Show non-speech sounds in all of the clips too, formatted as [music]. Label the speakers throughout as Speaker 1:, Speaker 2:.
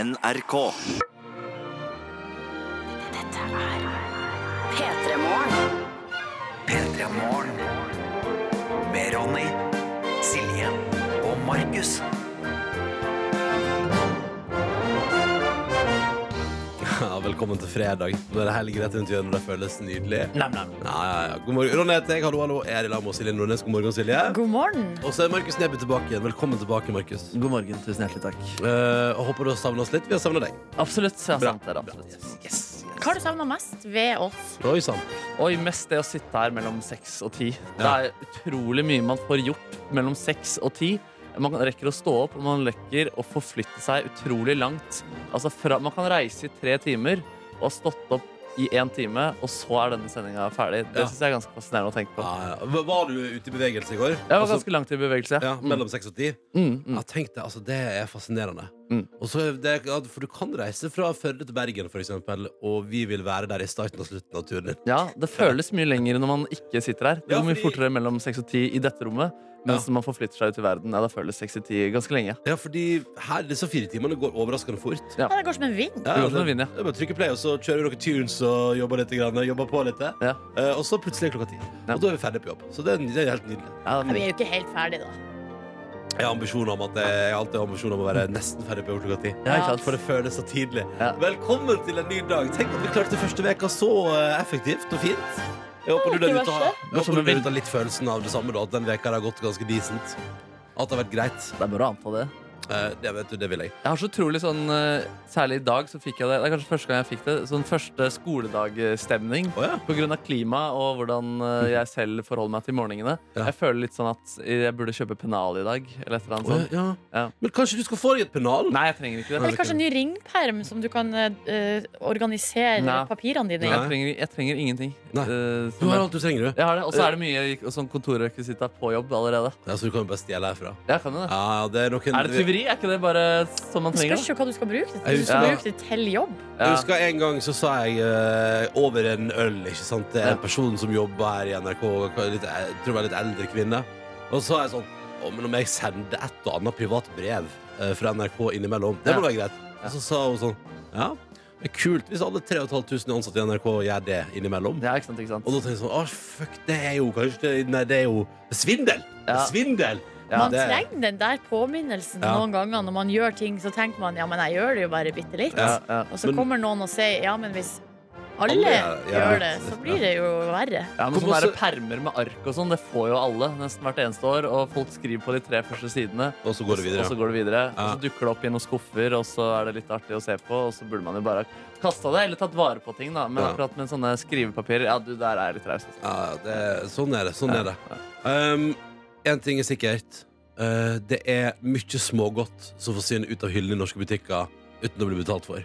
Speaker 1: NRK.
Speaker 2: Dette er P3morgen.
Speaker 3: P3 Morgen. Med Ronny, Silje og Markus.
Speaker 4: [laughs] Ja, velkommen til fredag. Nå er det helg rett rundt hjørnet, og det føles nydelig. Ja, ja, ja. God morgen. Ronny heter jeg. Hallo, hallo. Jeg er i lag med Silje Nordnes. God morgen, Silje.
Speaker 5: God morgen.
Speaker 4: Og så er Markus Neby tilbake igjen. Velkommen tilbake, Markus.
Speaker 6: God morgen. Tusen hjertelig takk.
Speaker 4: Eh, og håper du har savna oss litt. Vi har savna deg.
Speaker 6: Absolutt. Ja,
Speaker 4: Bra.
Speaker 6: sant det, er absolutt.
Speaker 5: Hva har du savna mest ved oss?
Speaker 4: Oi sann.
Speaker 6: Oi, mest det å sitte her mellom seks og ti. Det
Speaker 4: Ja.
Speaker 6: er utrolig mye man får gjort mellom seks og ti. Man rekker å stå opp, og man rekker å forflytte seg utrolig langt. Altså fra, man kan reise i tre timer og ha stått opp i én time, og så er denne sendinga ferdig.
Speaker 4: Ja.
Speaker 6: Det syns jeg er ganske fascinerende å tenke på.
Speaker 4: Ja, ja. Hva- Var du ute i bevegelse i går?
Speaker 6: Jeg var
Speaker 4: Altså,
Speaker 6: ganske langt i bevegelse.
Speaker 4: ja, mellom seks og ti?
Speaker 6: Mm, mm.
Speaker 4: Ja, tenk det. Altså, det er fascinerende.
Speaker 6: Mm.
Speaker 4: Og så er det, ja, for du kan reise fra Førde til Bergen, for eksempel, og vi vil være der i starten og slutten av turen din.
Speaker 6: Ja, det føles mye lenger når man ikke sitter her. Det
Speaker 4: Ja,
Speaker 6: går mye
Speaker 4: fordi-
Speaker 6: fortere mellom 6 og 10 i dette rommet. Mens når man forflytter seg ut i verden, ja, da føles 6 og 10 ganske lenge.
Speaker 4: Ja, fordi her disse fire timene går overraskende fort.
Speaker 5: Ja, det går som en vind.
Speaker 4: Ja,
Speaker 6: Det går
Speaker 4: altså,
Speaker 6: som en vind, ja.
Speaker 4: Det er bare å trykke play, og så kjører vi noen tunes og jobber litt. Grann, jobber på litt
Speaker 6: Ja.
Speaker 4: Eh, og så plutselig er klokka ti.
Speaker 6: Ja.
Speaker 4: Og da er vi ferdig på jobb. Så det er, det er helt nydelig.
Speaker 6: Ja,
Speaker 5: Men vi er jo ikke helt ferdig, da.
Speaker 4: Jeg har ambisjoner om at jeg, jeg har alltid har ambisjoner om å være nesten ferdig på jobb klokka ti.
Speaker 6: Ja, ikke sant?
Speaker 4: For det føles så tidlig.
Speaker 6: Mm. Ja.
Speaker 4: Velkommen til en ny dag. Tenk at vi klarte første veka så eh, effektivt og fint. Jeg håper du
Speaker 5: ikke
Speaker 4: der ute har,
Speaker 5: verst,
Speaker 4: jeg
Speaker 6: Som
Speaker 4: håper du
Speaker 6: en
Speaker 4: der
Speaker 6: vind.
Speaker 4: ute har litt følelsen av det samme, da, at den veka har gått ganske decent. At det har vært greit.
Speaker 6: Det er bare å anta det.
Speaker 4: Eh, det vet du, det vil jeg.
Speaker 6: Jeg har så utrolig sånn eh, Særlig i dag så fikk jeg det. Det er kanskje første gang jeg fikk det. Sånn første skoledagstemning.
Speaker 4: Å ja.
Speaker 6: På grunn av klima og hvordan eh, jeg selv forholder meg til morgenene.
Speaker 4: Ja.
Speaker 6: Jeg føler litt sånn at jeg burde kjøpe pennal i dag. Eller et eller annet
Speaker 4: Å ja,
Speaker 6: sånt.
Speaker 4: ja.
Speaker 6: Sånn. Ja.
Speaker 4: Men kanskje du skal få deg et pennal?
Speaker 6: Nei, jeg trenger ikke det.
Speaker 5: Eller kanskje en ny ringperm som du kan eh, organisere
Speaker 6: Nei.
Speaker 5: papirene dine i.
Speaker 6: Jeg trenger, jeg trenger ingenting.
Speaker 4: Nei.
Speaker 6: eh, som
Speaker 4: Du har
Speaker 6: jeg-
Speaker 4: alt du trenger, du.
Speaker 6: Jeg har det, Og så er det mye i- sånn kontorrekvisitter på jobb allerede.
Speaker 4: Ja, så du kan jo bare stjele herfra.
Speaker 6: Jeg kan jo det.
Speaker 4: Ja, det er noen
Speaker 6: Er det tyveri? Er ikke det bare sånn man
Speaker 5: Det
Speaker 6: trenger
Speaker 5: spørs
Speaker 6: det?
Speaker 5: jo hva du skal bruke det
Speaker 4: Jeg
Speaker 5: til. Du skal
Speaker 6: husker-
Speaker 5: bruke det til jobb.
Speaker 4: Jeg
Speaker 6: Ja.
Speaker 4: husker en gang så sa jeg eh, over en øl, ikke sant. Det er
Speaker 6: Ja.
Speaker 4: en person som jobber her i NRK, litt, jeg tror jeg var litt eldre kvinne. Og så sa jeg sånn Å, men om jeg sender et og annet privat brev eh, fra NRK innimellom, det må
Speaker 6: Ja.
Speaker 4: være greit. Og så sa hun sånn Ja, det er kult hvis alle 3500 ansatte i NRK gjør det innimellom.
Speaker 6: Ja, ikke sant, ikke sant.
Speaker 4: Og da tenkte jeg sånn Å, fuck, det er jo kanskje det, Nei, det er jo svindel! Det
Speaker 6: Ja.
Speaker 4: er svindel!
Speaker 6: Ja.
Speaker 5: Man
Speaker 4: det-
Speaker 5: trenger den der påminnelsen
Speaker 4: Ja.
Speaker 5: noen ganger. Når man gjør ting, så tenker man ja, men jeg gjør det jo bare bitte litt.
Speaker 6: Ja, ja.
Speaker 5: Og så
Speaker 4: Men-
Speaker 5: kommer noen og sier ja, men hvis alle,
Speaker 4: Alle gjør- gjør
Speaker 5: gjør det,
Speaker 4: det.
Speaker 5: så blir det jo verre.
Speaker 6: Ja,
Speaker 4: Kom
Speaker 6: men sånne
Speaker 4: også-
Speaker 6: der permer med ark og sånn, det får jo alle nesten hvert eneste år. Og folk skriver på de tre første sidene,
Speaker 4: Og så går det videre.
Speaker 6: og så går det videre.
Speaker 4: Ja.
Speaker 6: Og så dukker det opp i noen skuffer, og så er det litt artig å se på. Og så burde man jo bare ha kasta det, eller tatt vare på ting, da. Men
Speaker 4: Ja.
Speaker 6: akkurat med sånne skrivepapirer, ja, du, der er jeg litt raus. altså.
Speaker 4: Ja, det, sånn er det. Sånn er det. Um, en ting er sikkert. Uh, det er mye smågodt som forsvinner ut av hyllene i norske butikker uten å bli betalt for.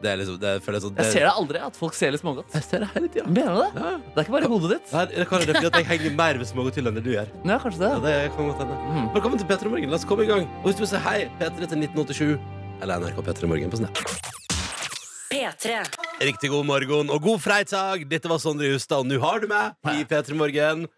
Speaker 4: Det er liksom, det føles sånn
Speaker 6: Jeg ser det aldri, at folk ser litt smågodt.
Speaker 4: Jeg ser det hele tida.
Speaker 6: Mener du det?
Speaker 4: Ja.
Speaker 6: Det er ikke bare i hodet ditt?
Speaker 4: Her- Det kan være fordi at jeg henger mer ved smågodt til enn det du gjør.
Speaker 6: Ja, kanskje det.
Speaker 4: Ja, det kan godt hende.
Speaker 6: Mhm.
Speaker 4: Velkommen til P3 Morgen. La oss komme i gang. Og hvis du vil si hei, P3 til 1987 eller NRK P3 Morgen på Snap.
Speaker 2: P3.
Speaker 4: Riktig god morgen og god freitag. Dette var Sondre Justad, og nå har du meg i P3 Morgen.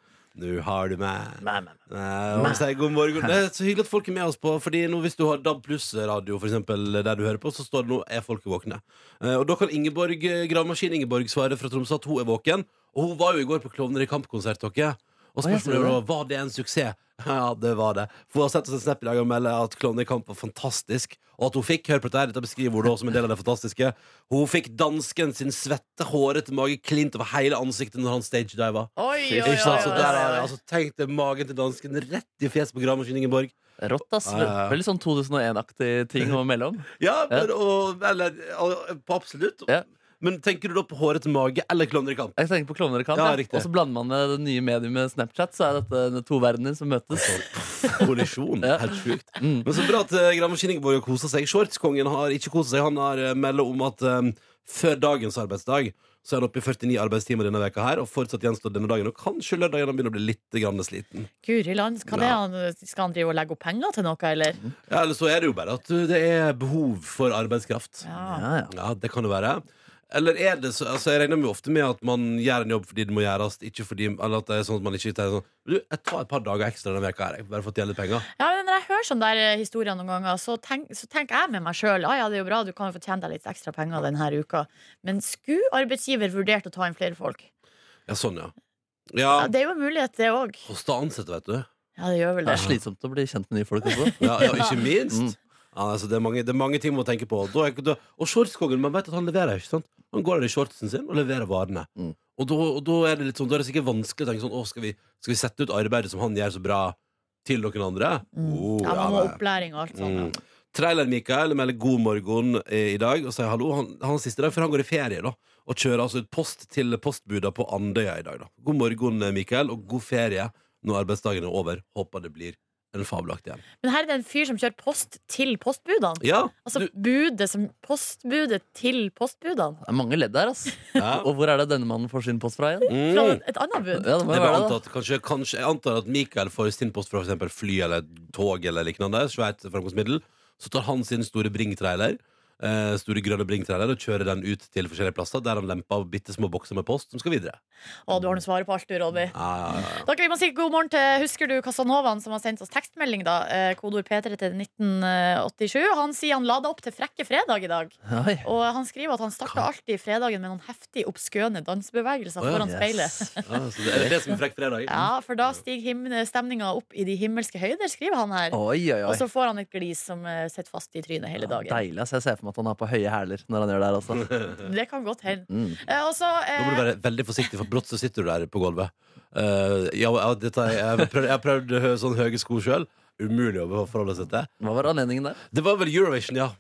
Speaker 4: Nå har du meg. Nei, og sier Eh, god morgen. Det er så hyggelig at folk er med oss på. Fordi nå Hvis du har DAB pluss-radio for eksempel, der du hører på, så står det nå er folk våkne. Eh, Og Da kan Ingeborg, eh, gravemaskin Ingeborg svare fra Tromsø at hun er våken. Og hun var jo i går på Klovner i kamp-konsert. dere. Og
Speaker 6: jeg
Speaker 4: spørsmålet
Speaker 6: ser
Speaker 4: er da
Speaker 6: det.
Speaker 4: var det en suksess. [laughs] Ja, det var det. For Hun har sendt oss en snap i dag og melder at Klovner i kamp var fantastisk. Og at hun fikk hør på dette her, dette beskriver hun da som en del av det fantastiske. Hun fikk dansken sin svette, hårete mage klint over hele ansiktet når han stagediva.
Speaker 5: Oi, oi, oi,
Speaker 4: Ikke sant? Så
Speaker 5: oi,
Speaker 4: der er det.
Speaker 5: oi.
Speaker 4: Altså, tenk deg magen til dansken rett i fjeset på gravemaskinen Ingeborg.
Speaker 6: Rått, ass.
Speaker 4: Ja, ja, ja.
Speaker 6: Veldig sånn 2001-aktig ting å melde om.
Speaker 4: Ja,
Speaker 6: Ja.
Speaker 4: men, Og, eller og, på absolutt.
Speaker 6: Ja.
Speaker 4: Men tenker du da på hårete mage eller klovner i
Speaker 6: [laughs]
Speaker 4: kamp?
Speaker 6: Jeg tenker på Klovner i kamp,
Speaker 4: Ja,
Speaker 6: ja.
Speaker 4: riktig.
Speaker 6: og så blander man med det nye mediet med Snapchat. Så er dette to verdener som møtes.
Speaker 4: Kollisjon.
Speaker 6: Ja.
Speaker 4: Helt sjukt.
Speaker 6: Mm.
Speaker 4: Men så bra at eh, Gravemaskin Ingeborg har kosa seg. Shortskongen har ikke kosa seg. Han har eh, meldt om at eh, før dagens arbeidsdag så er han oppe i 49 arbeidstimer denne veka her og fortsatt gjenstår denne dagen. Og kanskje lørdagen han begynner å bli litt grann sliten.
Speaker 5: Guri land, skal, det, han- skal han drive og legge opp penger til noe, eller?
Speaker 4: eh, Ja, Eller så er det jo bare at uh, det er behov for arbeidskraft.
Speaker 5: Ja.
Speaker 6: Ja, ja.
Speaker 4: Ja, det kan det være. Eller er det så altså, Jeg regner jo ofte med at man gjør en jobb fordi det må gjøres, ikke fordi Eller at det er sånn at man ikke tenker sånn Du, jeg tar et par dager ekstra denne veka her, jeg, bare for å tjene litt penger.
Speaker 5: Ja, men Når jeg hører sånne der eh, historier noen ganger, så, tenk, så tenker jeg med meg sjøl ja, ja, det er jo bra, du kan jo få tjene deg litt ekstra penger denne uka. Men skulle arbeidsgiver vurdert å ta inn flere folk?
Speaker 4: Ja, sånn, ja.
Speaker 5: Ja,
Speaker 4: Ja,
Speaker 5: det er jo en mulighet, det òg.
Speaker 4: koste å ansette, vet du.
Speaker 5: Ja, det gjør vel
Speaker 6: Det
Speaker 5: det.
Speaker 6: er slitsomt å bli kjent med nye folk også.
Speaker 4: Ja, ja ikke minst.
Speaker 6: Mm.
Speaker 4: Ja, altså, det, er mange, det er mange ting man tenker på. Da er, da, og shortskongen, man vet at han leverer. ikke sant? Han går der i shortsen sin og leverer varene.
Speaker 6: Mm.
Speaker 4: Og, da, og da er det litt sånn, da er det sikkert vanskelig å tenke sånn Å, skal vi, skal vi sette ut arbeidet som han gjør så bra, til noen andre?
Speaker 5: Mm.
Speaker 4: Oh,
Speaker 5: Ja, man må ha
Speaker 4: nei.
Speaker 5: opplæring og alt
Speaker 4: Mm.
Speaker 5: sånt.
Speaker 4: Trailer Mikael melder god morgen eh, i dag og sier hallo. Han, han er siste dag før han går i ferie da og kjører altså ut post til postbuda på Andøya i dag. da God morgen, eh, Mikael, og god ferie når arbeidsdagen er over. Håper det blir en fabelaktig en.
Speaker 5: Men her er det en fyr som kjører post til postbudene.
Speaker 4: Ja,
Speaker 5: Altså [laughs]
Speaker 4: du,
Speaker 5: budet som postbudet til postbudene.
Speaker 6: Det er mange ledd der, altså.
Speaker 4: ja.
Speaker 6: Og hvor er det denne mannen får sin post fra igjen?
Speaker 5: Fra
Speaker 4: Mm.
Speaker 5: et annet bud.
Speaker 6: Ja, det må
Speaker 4: Det
Speaker 6: jo
Speaker 4: ble
Speaker 6: være det, da.
Speaker 4: antatt, kanskje, kanskje, Jeg antar at Mikael får sin post fra for eksempel fly eller tog eller liknande. Svært fremkomstmiddel. Så tar han sin store bringtrailer eh, Store grønne bringtrailer og kjører den ut til forskjellige plasser, der han lemper av bitte små bokser med post som skal videre.
Speaker 5: Å, du har noe svaret på alt, du, Ronny.
Speaker 4: Ah, Ja, ja, ja.
Speaker 5: Dere, vi må si god morgen til Husker du Casanovaen som har sendt oss tekstmelding, da? Eh, Kodord P3 til 1987. Han sier han lada opp til Frekke fredag i dag.
Speaker 6: Oi.
Speaker 5: Og han skriver at han starta alltid fredagen med noen heftig obskøne dansebevegelser
Speaker 4: Å ja,
Speaker 5: foran speilet.
Speaker 6: Yes.
Speaker 4: Ja, så det er det som er frekk fredag.
Speaker 5: Ja, for da stiger himmel- stemninga opp i de himmelske høyder, skriver han her.
Speaker 6: Oi, oi,
Speaker 5: Og
Speaker 6: oi.
Speaker 5: så får han et glis som eh, sitter fast i trynet hele dagen.
Speaker 6: Deilig. ass. Jeg ser for meg at han har på høye hæler når han gjør det her, altså.
Speaker 5: Det kan godt hende.
Speaker 6: Mm.
Speaker 5: Eh, og så
Speaker 4: Da må du
Speaker 5: eh,
Speaker 4: være veldig forsiktig, for brått så sitter du der på gulvet. Eh, ja, ja, dette, har jeg- jeg har prøvd, jeg har prøvd hø- sånne høye sko sjøl. Umulig å forholde seg til.
Speaker 6: Hva var anledningen der?
Speaker 4: Det var vel Eurovision, ja.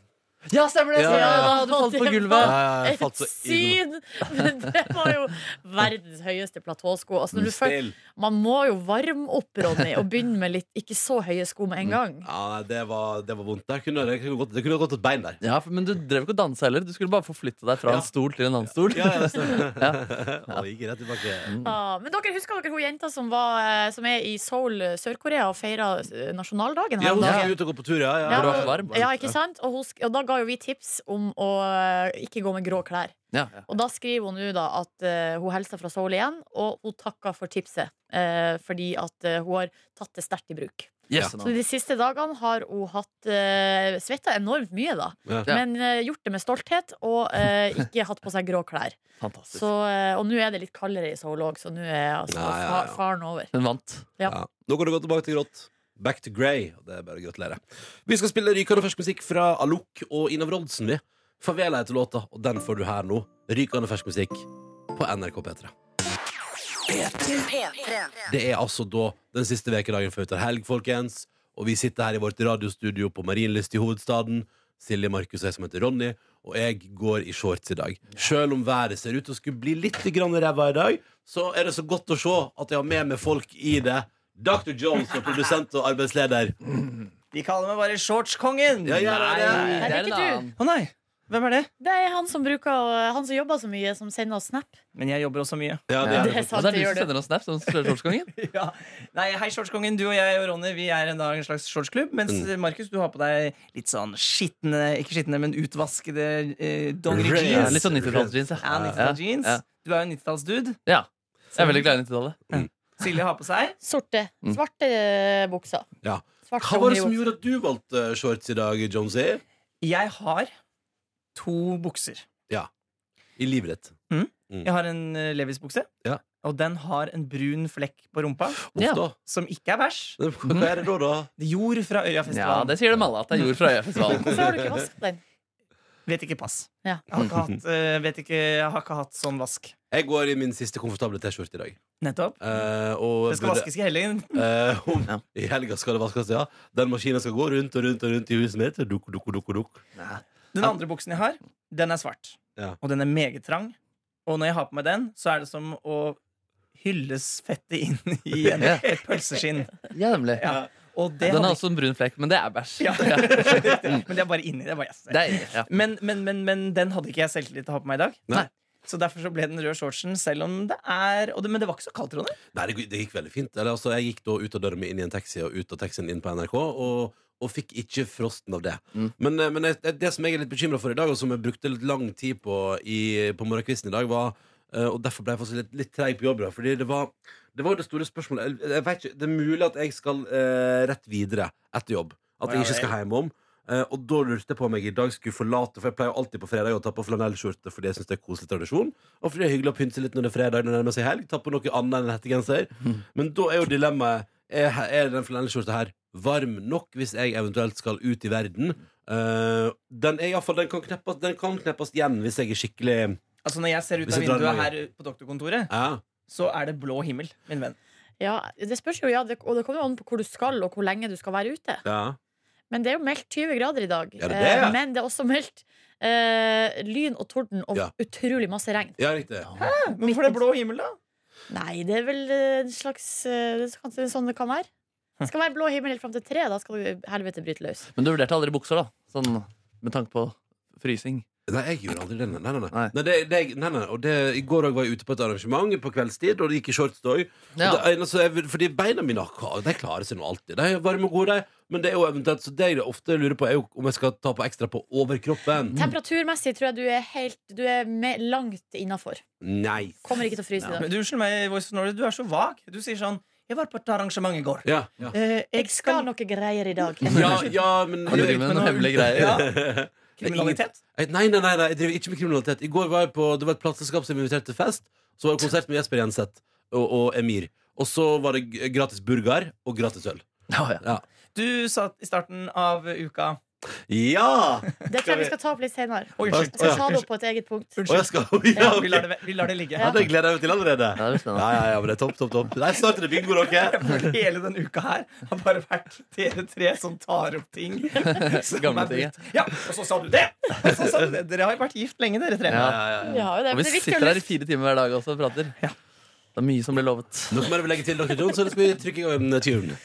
Speaker 6: Ja, stemmer det!
Speaker 4: Ja, ja, ja.
Speaker 6: Du falt på
Speaker 5: Det
Speaker 6: gulvet.
Speaker 5: var
Speaker 4: Ja, ja, jeg falt
Speaker 5: Et
Speaker 4: så inn-
Speaker 5: syn! [laughs] Men det var jo verdens høyeste platåsko. Altså, når du først
Speaker 4: Still.
Speaker 5: Man må jo varme opp, Ronny, og begynne med litt ikke så høye sko med en gang.
Speaker 4: Mm. Ja, nei, det var, det var vondt. Der kunne, det, kunne gått, det kunne gått et bein der.
Speaker 6: Ja, for- Men du drev ikke og dansa heller. Du skulle bare forflytte deg fra
Speaker 4: Ja.
Speaker 6: en stol til en annen stol.
Speaker 4: Ja, ja, stemmer. [laughs] Og gikk rett tilbake.
Speaker 5: Ah, men dere husker dere hun jenta som, var, eh, som er i Seoul, eh, Sør-Korea, og feira nasjonaldagen
Speaker 4: Ja,
Speaker 5: her om
Speaker 4: hun
Speaker 5: dagen?
Speaker 4: skulle ut og gå på tur, ja.
Speaker 5: Ja,
Speaker 4: ja.
Speaker 6: Hvor det var så varm.
Speaker 5: og- ja, ikke sant? Og, hun, sk- og da ga jo vi tips om å eh, ikke gå med grå klær.
Speaker 6: [laughs] Ja.
Speaker 5: Og da skriver hun nå da at eh, hun hilser fra Seoul igjen, og hun takker for tipset. eh, fordi at eh, hun har tatt det sterkt i bruk.
Speaker 6: Yes,
Speaker 5: Så de siste dagene har hun hatt uh, svetta enormt mye, da.
Speaker 4: Ja.
Speaker 5: Men eh, gjort det med stolthet, og eh, ikke hatt på seg grå klær.
Speaker 6: Fantastisk.
Speaker 5: Så, eh, og nå er det litt kaldere i Seoul òg, så nå er altså
Speaker 4: Ja, ja, ja.
Speaker 5: fa- faren over.
Speaker 6: Hun vant.
Speaker 4: Ja. Nå går det godt tilbake til grått. Back to grey. og Det er bare å gratulere. Vi skal spille rykende fersk musikk fra Alok og Inav Rodsen, vi. Favela heter låta, og den får du her nå. Rykende fersk musikk på NRK P3.
Speaker 2: P3.
Speaker 4: Det er altså da den siste vekedagen før vi tar helg, folkens. Og vi sitter her i vårt radiostudio på Marienlyst i hovedstaden. Silje Markus og jeg som heter Ronny, og jeg går i shorts i dag. Selv om været ser ut til å skulle bli litt grann ræva i dag, så er det så godt å se at jeg har med meg folk i det. Dr. Jones som er produsent og arbeidsleder.
Speaker 1: De kaller meg bare shortskongen.
Speaker 4: Ja, ja, ja, ja.
Speaker 5: Nei, det er ikke
Speaker 6: en
Speaker 5: du.
Speaker 6: annen.
Speaker 1: Å nei, hvem er det?
Speaker 5: Det er han som, bruker, å- han som jobber så mye, som sender oss snap.
Speaker 1: Men jeg jobber også mye.
Speaker 4: Ja, det
Speaker 6: Ja.
Speaker 4: er
Speaker 5: Det er
Speaker 4: det.
Speaker 5: sant,
Speaker 6: Og
Speaker 5: det
Speaker 6: det er du
Speaker 5: gjør
Speaker 6: som
Speaker 5: du.
Speaker 6: sender oss snaps om shortskongen.
Speaker 1: Ja. Nei, Hei, shortskongen. Du og jeg og Ronny vi er en dag en slags shortsklubb. Mens Markus, du har på deg litt sånn skitne, ikke skitne, men utvaskede eh,
Speaker 4: Rare.
Speaker 1: dongerijeans.
Speaker 6: Ja, litt sånn 90-tallsjeans.
Speaker 1: Ja, 90-tallsjeans.
Speaker 6: Ja, ja.
Speaker 1: Du er jo 90-tallsdude.
Speaker 6: Ja. Jeg er veldig glad i 90-tallet.
Speaker 1: Silje har på seg.
Speaker 5: Sorte. Svarte eh, bukser.
Speaker 4: Ja.
Speaker 5: Svarte
Speaker 4: Hva var det som
Speaker 5: underbukser.
Speaker 4: gjorde at du valgte eh, shorts i dag, Jonesy?
Speaker 1: Jeg har to bukser.
Speaker 4: I livet ditt.
Speaker 1: Jeg har en eh, Levis-bukse,
Speaker 4: Ja.
Speaker 1: og den har en brun flekk på rumpa
Speaker 6: Ja.
Speaker 4: Uff da.
Speaker 1: som ikke er bæsj.
Speaker 4: Hva er det da, da?
Speaker 1: Jord fra
Speaker 6: Ja,
Speaker 1: Øyafestivalen.
Speaker 6: det sier de alle, at det er jord fra Øyafestivalen.
Speaker 5: Hvorfor har du ikke vasket den?
Speaker 1: Vet ikke pass.
Speaker 5: Ja.
Speaker 1: Jeg, har ikke hatt, eh, vet ikke, jeg har ikke hatt sånn vask.
Speaker 4: Jeg går i min siste komfortable T-skjorte i dag.
Speaker 1: Nettopp.
Speaker 4: Eh, og
Speaker 1: Det skal
Speaker 4: burde-
Speaker 1: vaskes i helgen.
Speaker 4: Eh, om,
Speaker 6: Ja.
Speaker 4: I helga skal det vaskes, ja. Den maskinen skal gå rundt og rundt og rundt i huset mitt. Duk, duk, duk, duk.
Speaker 1: Den andre buksen jeg har, den er svart.
Speaker 4: Ja.
Speaker 1: Og den er meget trang. Og når jeg har på meg den, så er det som å hylles fettet inn i en,
Speaker 6: Ja.
Speaker 1: et
Speaker 6: [laughs]
Speaker 1: pølseskinn.
Speaker 6: [laughs] Ja, nemlig.
Speaker 1: Ja. Og det
Speaker 6: Den har
Speaker 1: hadde
Speaker 6: også en brun flekk, men det er bæsj.
Speaker 1: Ja.
Speaker 6: Ja.
Speaker 1: ikke [laughs] Men det er bare inni. Det er bare, yes.
Speaker 6: Det er, ja.
Speaker 1: men, men, men, men den hadde ikke jeg selvtillit til å ha på meg i dag.
Speaker 4: Nei.
Speaker 1: Så derfor så ble den røde shortsen, selv om det er og det, Men det var ikke så kaldt, Ronny.
Speaker 4: Nei, det, gikk- det gikk veldig fint. Eller, altså, jeg gikk da ut av døra mi, inn i en taxi, og ut av taxien inn på NRK. Og, og fikk ikke frosten av det.
Speaker 6: Mm.
Speaker 4: Men, eh, men det, det som jeg er litt bekymra for i dag, og som jeg brukte litt lang tid på i, på morgenkvisten i dag, var eh, Og derfor ble jeg faktisk litt, litt treig på jobb, da, fordi det var det var det store spørsmålet. Jeg, jeg vet ikke, Det er mulig at jeg skal eh, rett videre etter jobb. At jeg ikke skal hjem om. Eh, og da lurte jeg på om jeg i dag skulle forlate For jeg pleier jo alltid på fredag å ta på flanellskjorte fordi jeg syns det er koselig tradisjon. Og fordi det er hyggelig å pynte litt når det er fredag når det nærmer seg helg. Ta på noe annet enn hettegenser. Men da er jo dilemmaet er, er den flanellskjorta her varm nok hvis jeg eventuelt skal ut i verden? Eh, den, er i hvert fall- den, kan kneppes, den kan kneppes igjen hvis jeg er skikkelig
Speaker 1: Altså Når jeg ser ut
Speaker 4: Hvis
Speaker 1: av
Speaker 4: jeg drar
Speaker 1: vinduet
Speaker 4: den
Speaker 1: her på doktorkontoret,
Speaker 4: ja.
Speaker 1: så er det blå himmel. min venn
Speaker 5: Ja, det spørs jo, ja, det, og det kommer jo an på hvor du skal, og hvor lenge du skal være ute.
Speaker 4: Ja.
Speaker 5: Men det er jo meldt 20 grader i dag.
Speaker 4: Ja, det er det.
Speaker 5: Eh, Men det er også meldt eh, lyn og torden og
Speaker 4: Ja.
Speaker 5: utrolig masse regn.
Speaker 4: ja, riktig.
Speaker 1: Hvorfor er det blå himmel, da?
Speaker 5: Nei, det er vel eh, en slags eh, det er kanskje sånn det kan være. Det skal være blå himmel helt fram til tre. Da skal helvete bryte løs.
Speaker 6: Men du vurderte aldri bukser, da? Sånn med tanke på frysing.
Speaker 4: Nei, jeg gjorde aldri det. Nei, nei, nei. nei.
Speaker 6: Nei.
Speaker 4: det, det, nei, nei. Og det, I går òg var jeg ute på et arrangement på kveldstid, og det gikk i shorts da òg.
Speaker 6: Ja.
Speaker 4: Og det ene- så jeg- Fordi beina mine har- de klarer seg nå alltid. De er varme og gode, de. Men det er jo eventuelt Så det jeg ofte lurer på, er jo om jeg skal ta på ekstra på overkroppen.
Speaker 5: Temperaturmessig tror jeg du er helt Du er me- langt innafor.
Speaker 4: Nei.
Speaker 5: Kommer ikke til å fryse i dag.
Speaker 1: Men du, Unnskyld meg, Voice of Norway, du er så vag. Du sier sånn Jeg var på et arrangement i går.
Speaker 4: Ja, ja.
Speaker 1: Eh,
Speaker 5: Jeg skal noe greier i dag.
Speaker 4: ja, ja men
Speaker 6: Har du drevet med noen hemmelige greier?
Speaker 1: [laughs] Ja. Kriminalitet.
Speaker 4: [laughs] Jeg- Nei, nei, nei, nei, jeg driver ikke med kriminalitet. I går var jeg på, Det var et plateselskap som inviterte til fest. Så var det konsert med Jesper Jenseth og, og Emir. Og så var det g- gratis burger og gratis øl.
Speaker 6: Ja, ja.
Speaker 1: Du sa i starten av uka
Speaker 4: Ja!
Speaker 5: Det tror jeg vi skal ta opp litt senere.
Speaker 1: Oi,
Speaker 5: Jeg
Speaker 1: Unnskyld.
Speaker 5: skal ta det opp på et eget punkt.
Speaker 4: Og jeg
Speaker 1: unnskyld.
Speaker 4: skal [laughs] ja,
Speaker 1: Vi,
Speaker 4: ok.
Speaker 1: lar det, vi lar det ligge.
Speaker 4: Ja, det gleder jeg meg til allerede.
Speaker 6: Ja, det er spennende.
Speaker 4: ja, ja, ja, men det er topp, topp, topp. Nei, snart er det bingo, dere.
Speaker 1: [laughs] For hele den uka her har bare vært dere tre som tar opp ting. som
Speaker 6: Gamle
Speaker 1: er
Speaker 6: ting, ja.
Speaker 1: brukt. Ja, og så sa du det! [laughs] Og så sa du det. Dere har jo vært gift lenge, dere tre.
Speaker 6: Ja.
Speaker 5: Vi har jo det,
Speaker 6: Og
Speaker 5: men
Speaker 6: vi
Speaker 5: det er viktig å
Speaker 6: sitter her i
Speaker 5: lytte.
Speaker 6: fire timer hver dag også og prater. Det er mye som blir lovet.
Speaker 4: Nå må jeg legge til Dr. Jones, eller skal vi trykke i gang en tune?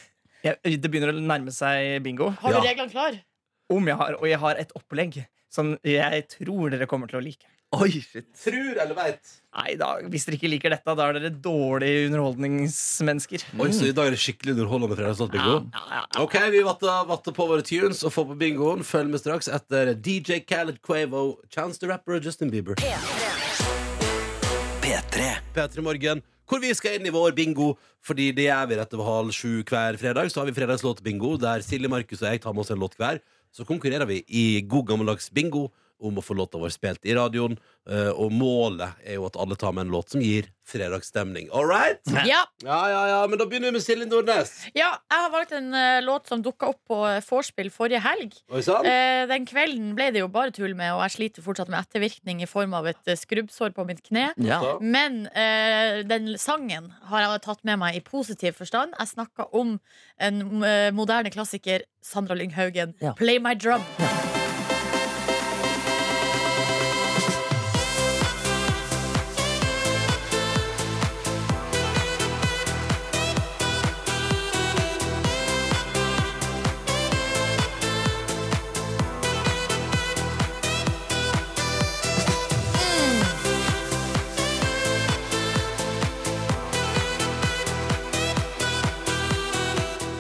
Speaker 1: Jeg, det begynner å nærme seg bingo.
Speaker 5: Har du
Speaker 4: Ja.
Speaker 5: reglene klar?
Speaker 1: Om jeg har, og jeg har et opplegg som jeg tror dere kommer til å like.
Speaker 6: Oi, shit.
Speaker 4: Tror eller veit?
Speaker 1: Nei da, hvis dere ikke liker dette, da er dere dårlige underholdningsmennesker.
Speaker 4: Oi, så i dag er det skikkelig underholdende fredagslåtbingo? Ok, vi vatter, vatter på våre tunes og får på bingoen. Følg med straks etter DJ Khaled Quavo, Chance the Rapper og Justin Bieber.
Speaker 3: P3
Speaker 4: P3 Morgen, hvor vi skal inn i vår bingo. Fordi det gjør vi rett over halv sju hver fredag. Så har vi fredagslåtbingo, der Silje, Markus og jeg tar med oss en låt hver. Så konkurrerer vi i god gammeldags bingo om å få låta vår spilt i radioen. Eh, Og målet er jo at alle tar med en låt som gir fredagsstemning. All right?
Speaker 5: Ja.
Speaker 4: Ja, ja, ja, men da begynner vi med Silje Nordnes.
Speaker 5: ja. Jeg har valgt en eh, låt som dukka opp på eh, vorspiel forrige helg.
Speaker 4: Oi sann?
Speaker 5: Eh, den kvelden ble det jo bare tull med, og jeg sliter fortsatt med ettervirkning i form av et eh, skrubbsår på mitt kne.
Speaker 6: Ja.
Speaker 5: Men eh, den sangen har jeg tatt med meg i positiv forstand. Jeg snakka om en eh, moderne klassiker, Sandra Lynghaugen,
Speaker 6: Ja.
Speaker 5: 'Play My Drum'.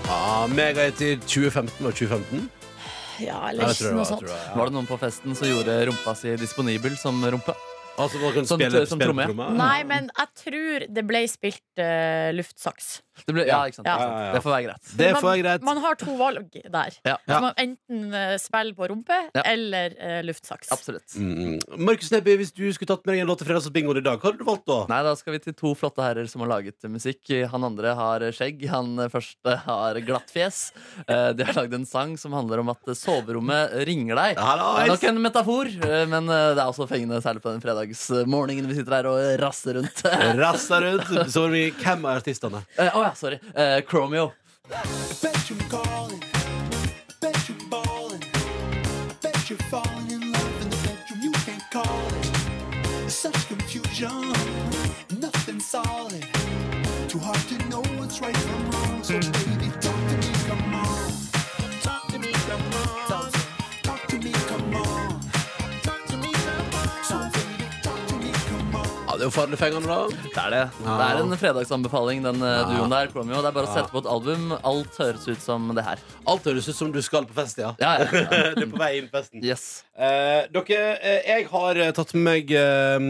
Speaker 4: Ja, Megahiter 2015 og 2015.
Speaker 5: Ja,
Speaker 4: Ja,
Speaker 5: eller
Speaker 4: jeg tror
Speaker 5: noe
Speaker 4: det var, jeg
Speaker 5: sånt.
Speaker 4: tror det var,
Speaker 6: Var det noen på festen som gjorde rumpa si disponibel som rumpe?
Speaker 4: ja. Altså, man kan
Speaker 6: Sånn-
Speaker 4: spille,
Speaker 6: sånn
Speaker 4: spille
Speaker 6: tromme, ja.
Speaker 4: tromma?
Speaker 5: Nei, men jeg tror det ble spilt eh, luftsaks.
Speaker 6: Det ble, ja, ikke sant?
Speaker 5: Ja.
Speaker 6: ikke sant. Det får være greit.
Speaker 4: Det
Speaker 5: Man-
Speaker 4: får jeg greit.
Speaker 5: Man har to valg der.
Speaker 6: Ja,
Speaker 5: Så man enten eh, spiller på rumpe
Speaker 6: Ja.
Speaker 5: eller eh, luftsaks.
Speaker 6: absolutt.
Speaker 4: Mm. Markus Neby, hvis du skulle tatt med deg en låt til fredagsbingoen i dag, hva hadde du valgt da?
Speaker 6: Nei, da skal vi til to flotte herrer som har laget musikk. Han andre har skjegg, han første har glatt fjes. Eh, De har lagd en sang som handler om at soverommet ringer deg.
Speaker 4: Ja, da,
Speaker 6: Det er
Speaker 4: jeg-
Speaker 6: nok en metafor, eh, men eh, det er også fengende, særlig på den fredagsmorgenen vi sitter her og rasser [laughs] rundt. Eh,
Speaker 4: Rassa rundt. Så var det mye- hvem er artistene?
Speaker 6: Å ja, sorry. Eh, Chromeo.
Speaker 7: Bet you callin', bet you ballin', bet you're falling in love in the bedroom you can't call it. Such confusion, nothing solid. Too hard to know what's right from wrong. So baby, talk to me, come on. Talk to me, come on. Talk to me, come on. Talk to me, come on. So baby, talk to me, come on.
Speaker 4: Ja, det er jo farlig fengende, da.
Speaker 6: Det er det. Det er en fredagsanbefaling, den eh, duoen der. Chromeo. Det er bare å sette på et album. Alt høres ut som det her.
Speaker 4: Alt høres ut som du skal på fest, ja. [laughs]
Speaker 6: Ja, ja, [laughs] ja.
Speaker 4: Det er på vei inn i festen.
Speaker 6: Yes.
Speaker 4: Eh, dere, eh, jeg har eh, tatt med meg eh,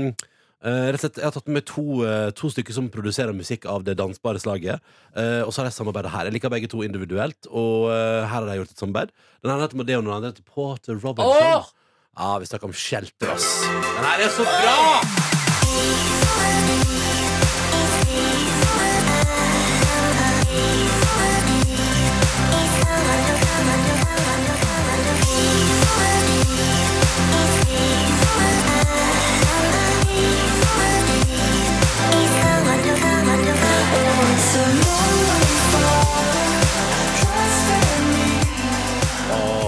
Speaker 4: eh, Rett og slett, jeg har tatt med meg to, eh, to stykker som produserer musikk av det dansbare slaget. Eh, og så har jeg samarbeidet her. Jeg liker begge to individuelt. Og eh, her har jeg gjort et samarbeid. Den ene heter Madeon, og den andre heter Porter Robinson.
Speaker 6: Åh!
Speaker 4: Ja, Vi snakker om shelter, ass. Den her er så bra!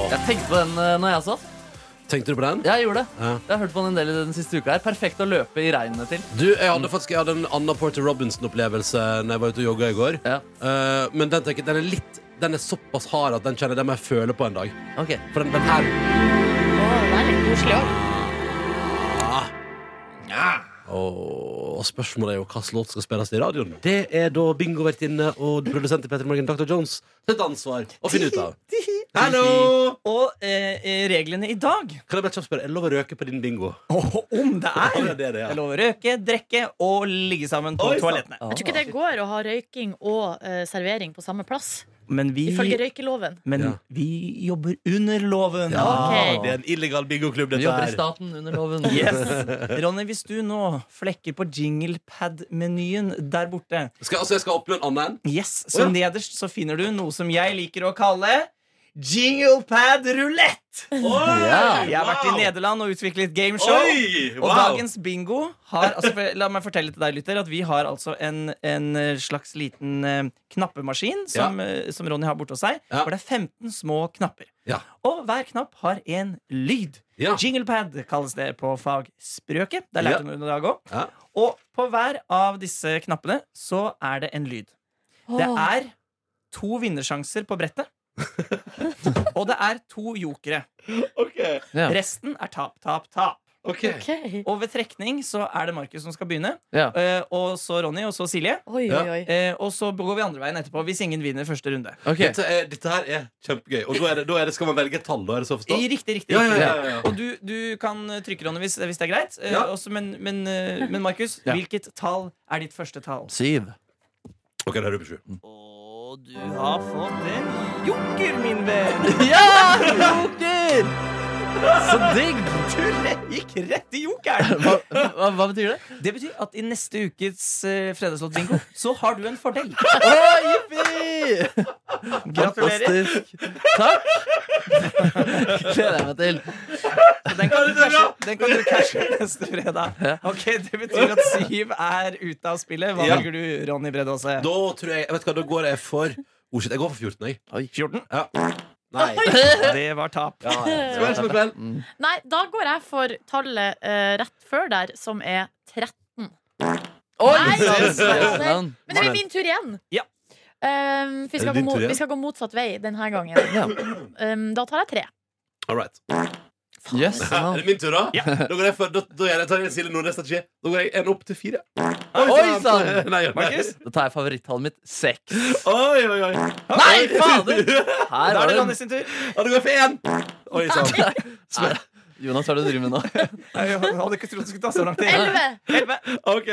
Speaker 6: Jeg tenkte på den eh, når jeg satt.
Speaker 4: Tenkte du på den?
Speaker 6: Jeg gjorde det.
Speaker 4: Ja.
Speaker 6: Jeg har hørt på den en del i den siste uka. her Perfekt å løpe i regnet til.
Speaker 4: Du, jeg hadde faktisk jeg hadde en annen Porter Robinson-opplevelse Når jeg var ute og jogga i går.
Speaker 6: Ja.
Speaker 4: Eh, men den, tenker jeg, den er litt Den er såpass hard at den kjenner jeg- den må jeg føle på en dag.
Speaker 6: Ok.
Speaker 4: For den, den her
Speaker 5: det er litt koselig òg.
Speaker 4: Og spørsmålet er jo hvilken låt skal spilles i radioen. Det er da bingovertinne og produsent i Petter Morgen, Dr. Jones, sitt ansvar å finne ut av. Hallo!
Speaker 1: Og eh, reglene i dag [laughs]
Speaker 4: Kan jeg bare kjapt spørre, er det lov å røke på din bingo?
Speaker 1: Åh, Om det er
Speaker 4: Ja, det er det, ja.
Speaker 1: Det er lov å røke, drikke og ligge sammen på
Speaker 4: Oi, sant.
Speaker 1: toalettene.
Speaker 5: Jeg tror ikke det går å ha røyking og eh, servering på samme plass.
Speaker 1: Men vi,
Speaker 5: Ifølge røykeloven.
Speaker 1: men
Speaker 4: Ja.
Speaker 1: vi jobber under loven.
Speaker 5: Ok.
Speaker 4: Det er en illegal bingoklubb,
Speaker 6: Vi
Speaker 4: dette
Speaker 6: jobber i
Speaker 4: her.
Speaker 6: staten under loven.
Speaker 1: Yes. Ronny, hvis du nå flekker på jinglepad-menyen der borte,
Speaker 4: Skal, altså, jeg skal opp med en annen?
Speaker 1: yes, så
Speaker 4: Å,
Speaker 1: nederst så finner du noe som jeg liker å kalle jinglepad-rulett.
Speaker 6: Ja.
Speaker 1: Jeg har vært i Nederland og utviklet gameshow.
Speaker 4: Oi,
Speaker 1: Og
Speaker 4: wow.
Speaker 1: dagens bingo har altså, for, La meg fortelle til deg, lytter, at vi har altså en, en eh, slags liten eh, knappemaskin som, eh, som Ronny har borte hos seg,
Speaker 4: Ja.
Speaker 1: hvor det er 15 små knapper.
Speaker 4: Ja.
Speaker 1: Og hver knapp har en lyd.
Speaker 4: Ja.
Speaker 1: Jinglepad kalles det på fagspråket. Det lærte
Speaker 4: Ja.
Speaker 1: hun i dag òg.
Speaker 4: Ja.
Speaker 1: Og på hver av disse knappene så er det en lyd. Det er to vinnersjanser på brettet.
Speaker 4: [laughs]
Speaker 1: og det er to jokere.
Speaker 6: Ja.
Speaker 1: Resten er tap, tap, tap.
Speaker 5: Ok.
Speaker 1: Og ved trekning så er det Markus som skal begynne.
Speaker 6: Ja.
Speaker 1: eh, Og så Ronny, og så Silje.
Speaker 5: Oi, oi, oi.
Speaker 1: eh, Og så går vi andre veien etterpå hvis ingen vinner første runde.
Speaker 6: Ok.
Speaker 4: Dette, er, dette her er kjempegøy. Og da, er det, da er det, skal man velge et tall, da? Er det så å
Speaker 1: I
Speaker 4: forstå?
Speaker 1: riktig, riktig,
Speaker 4: Ja, ja,
Speaker 1: riktig.
Speaker 4: ja, ja, ja.
Speaker 1: Og du, du kan trykke, Ronny, hvis, hvis det er greit. Eh,
Speaker 4: Ja.
Speaker 1: også, men men, eh, men Markus,
Speaker 6: Ja.
Speaker 1: hvilket tall er ditt første tall?
Speaker 6: Syv.
Speaker 4: Ok, da er du på sju.
Speaker 1: Og du har fått en joker, min
Speaker 4: [laughs]
Speaker 1: venn!
Speaker 6: Ja! Joker! Så digg!
Speaker 1: Du re- gikk rett i
Speaker 4: [laughs]
Speaker 1: jokeren!
Speaker 6: Hva, hva, hva betyr det?
Speaker 1: Det betyr at i neste ukes uh, fredagslåtbingo så har du en
Speaker 4: [laughs]
Speaker 1: fordel.
Speaker 6: Å, jippi!
Speaker 1: Gratulerer.
Speaker 6: Fantastisk. Takk. Gleder jeg meg til.
Speaker 1: Den kan, du cashe, den kan du cashe neste fredag. Ok, Det betyr at Siv er ute av spillet. Hva
Speaker 4: Ja.
Speaker 1: velger du, Ronny Bredåse?
Speaker 4: Da tror jeg, vet du hva, da går jeg for oh, shit, Jeg går for 14, jeg.
Speaker 1: 14.
Speaker 4: Ja. Nei.
Speaker 1: Det var tap.
Speaker 4: Ja, ja. Skål, skål, skål.
Speaker 5: Nei, da går jeg for tallet eh, rett før der, som er 13.
Speaker 6: Oi!
Speaker 5: Nei,
Speaker 6: Yes,
Speaker 5: altså.
Speaker 6: yes, navn.
Speaker 5: Men det blir min tur igjen.
Speaker 1: Ja.
Speaker 5: Um, vi,
Speaker 4: Er
Speaker 5: skal gå
Speaker 4: det din
Speaker 5: mot,
Speaker 4: tur igjen?
Speaker 5: vi skal gå motsatt vei denne gangen. Um, da tar jeg tre.
Speaker 4: All right.
Speaker 6: Yes,
Speaker 4: Hæ, Er
Speaker 6: navn.
Speaker 4: det min tur, da? Da går jeg for Da, da gjør jeg, tar jeg en Silje Nordnes-strategi. Da går jeg en opp til fire.
Speaker 6: Oi sann!
Speaker 4: [laughs] Nei, gjør det.
Speaker 1: Markus?
Speaker 6: Da tar jeg favorittallet mitt seks.
Speaker 4: Oi, oi, oi.
Speaker 6: Nei, fader!
Speaker 1: Da
Speaker 6: Her var
Speaker 1: er det
Speaker 6: det
Speaker 1: Ronny sin tur.
Speaker 4: Ja, det går for én. Oi sann.
Speaker 6: Nei. Jonas, hva er det du driver med nå?
Speaker 1: [laughs] Nei, Jeg hadde ikke trodd det skulle ta så lang tid.
Speaker 5: 11!
Speaker 4: OK.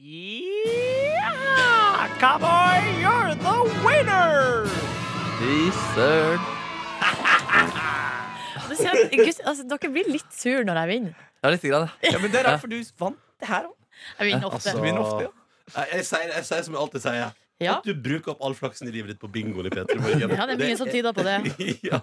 Speaker 1: Yeah, cowboy, you're the winner!
Speaker 6: [laughs] Fy søren.
Speaker 5: Du ser at- Gud, altså, dere blir litt sur når jeg vinner.
Speaker 6: Ja, lite grann. ja.
Speaker 1: Ja, men Det er rart, for du vant det her òg.
Speaker 5: Jeg vinner ofte.
Speaker 1: Du vinner ofte, ja. altså.
Speaker 4: Nei, Jeg sier, jeg sier som jeg alltid sier.
Speaker 5: Ja.
Speaker 4: At du bruker opp all flaksen i livet ditt på bingoen i P3 Morgen.
Speaker 5: ja, det er mye som tyder på det.
Speaker 4: [laughs] ja.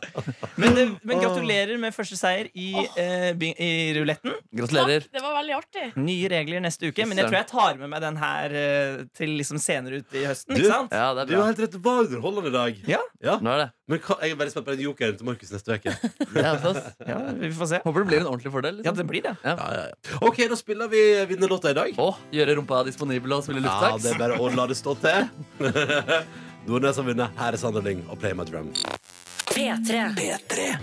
Speaker 1: Men, det, men gratulerer med første seier i, eh, bing- i ruletten.
Speaker 6: Gratulerer.
Speaker 5: det var veldig artig.
Speaker 1: Nye regler neste uke, men jeg tror jeg tar med meg den her eh, til liksom senere ut i høsten.
Speaker 4: Du-
Speaker 1: ikke sant?
Speaker 6: Ja, det er
Speaker 4: Du har
Speaker 6: bra.
Speaker 4: helt rett. Det var underholdende i dag.
Speaker 1: Ja.
Speaker 6: Nå er det.
Speaker 4: Men hva, jeg er veldig spent på den jokeren til Markus neste uke.
Speaker 6: [laughs] det er hos oss.
Speaker 1: Ja, Vi får se.
Speaker 6: Håper det blir en ordentlig fordel.
Speaker 1: Ja,
Speaker 6: Liksom.
Speaker 1: det blir det.
Speaker 4: Ja, ja, ja. OK, da spiller vi vinnerlåta i dag.
Speaker 6: Å, gjøre rumpa disponibel og spille
Speaker 4: Ja,
Speaker 6: lufttaks.
Speaker 4: det er [laughs] bare å la det stå til. Nordnes har vunnet. Her er Sander Lyng og Play My Drum.
Speaker 2: P3.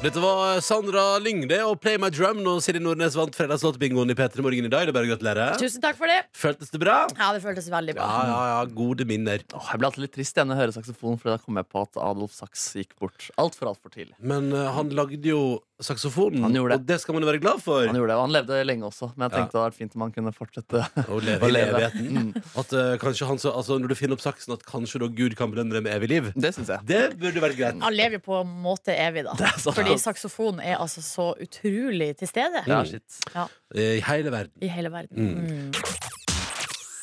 Speaker 4: Dette var Sandra Lyngde og Play My Drum når Siri Nordnes vant fredagslåtbingoen i P3 Morgen i dag. Det er bare å gratulere.
Speaker 5: Tusen takk for det.
Speaker 4: Føltes det bra?
Speaker 5: Ja, det føltes veldig
Speaker 4: Ja,
Speaker 5: bra.
Speaker 4: ja, ja. Gode minner.
Speaker 6: Åh, jeg ble alltid litt trist igjen når jeg hører saksofonen, for da kom jeg på at Adolf Sachs gikk bort altfor alt for tidlig.
Speaker 4: Men eh, han lagde jo saksofonen,
Speaker 6: Han gjorde det.
Speaker 4: og det skal man jo være glad for.
Speaker 6: Han gjorde det, og han levde lenge også, men
Speaker 4: Ja.
Speaker 6: jeg tenkte det hadde vært fint om han kunne fortsette.
Speaker 4: Å leve
Speaker 6: Å
Speaker 4: i
Speaker 6: leve. Mm.
Speaker 4: evigheten. At eh, kanskje han så, altså, Når du finner opp saksen, at kanskje da Gud kan belønne deg med evig liv.
Speaker 6: Det syns jeg.
Speaker 4: [laughs] Det burde vært greit.
Speaker 5: Han lever jo på en måte evig, da.
Speaker 6: er sant.
Speaker 5: Fordi saksofonen er altså så utrolig til stede
Speaker 6: Ja,
Speaker 4: Mm.
Speaker 6: shit.
Speaker 4: Eh, I hele verden.
Speaker 5: i hele verden. Mm.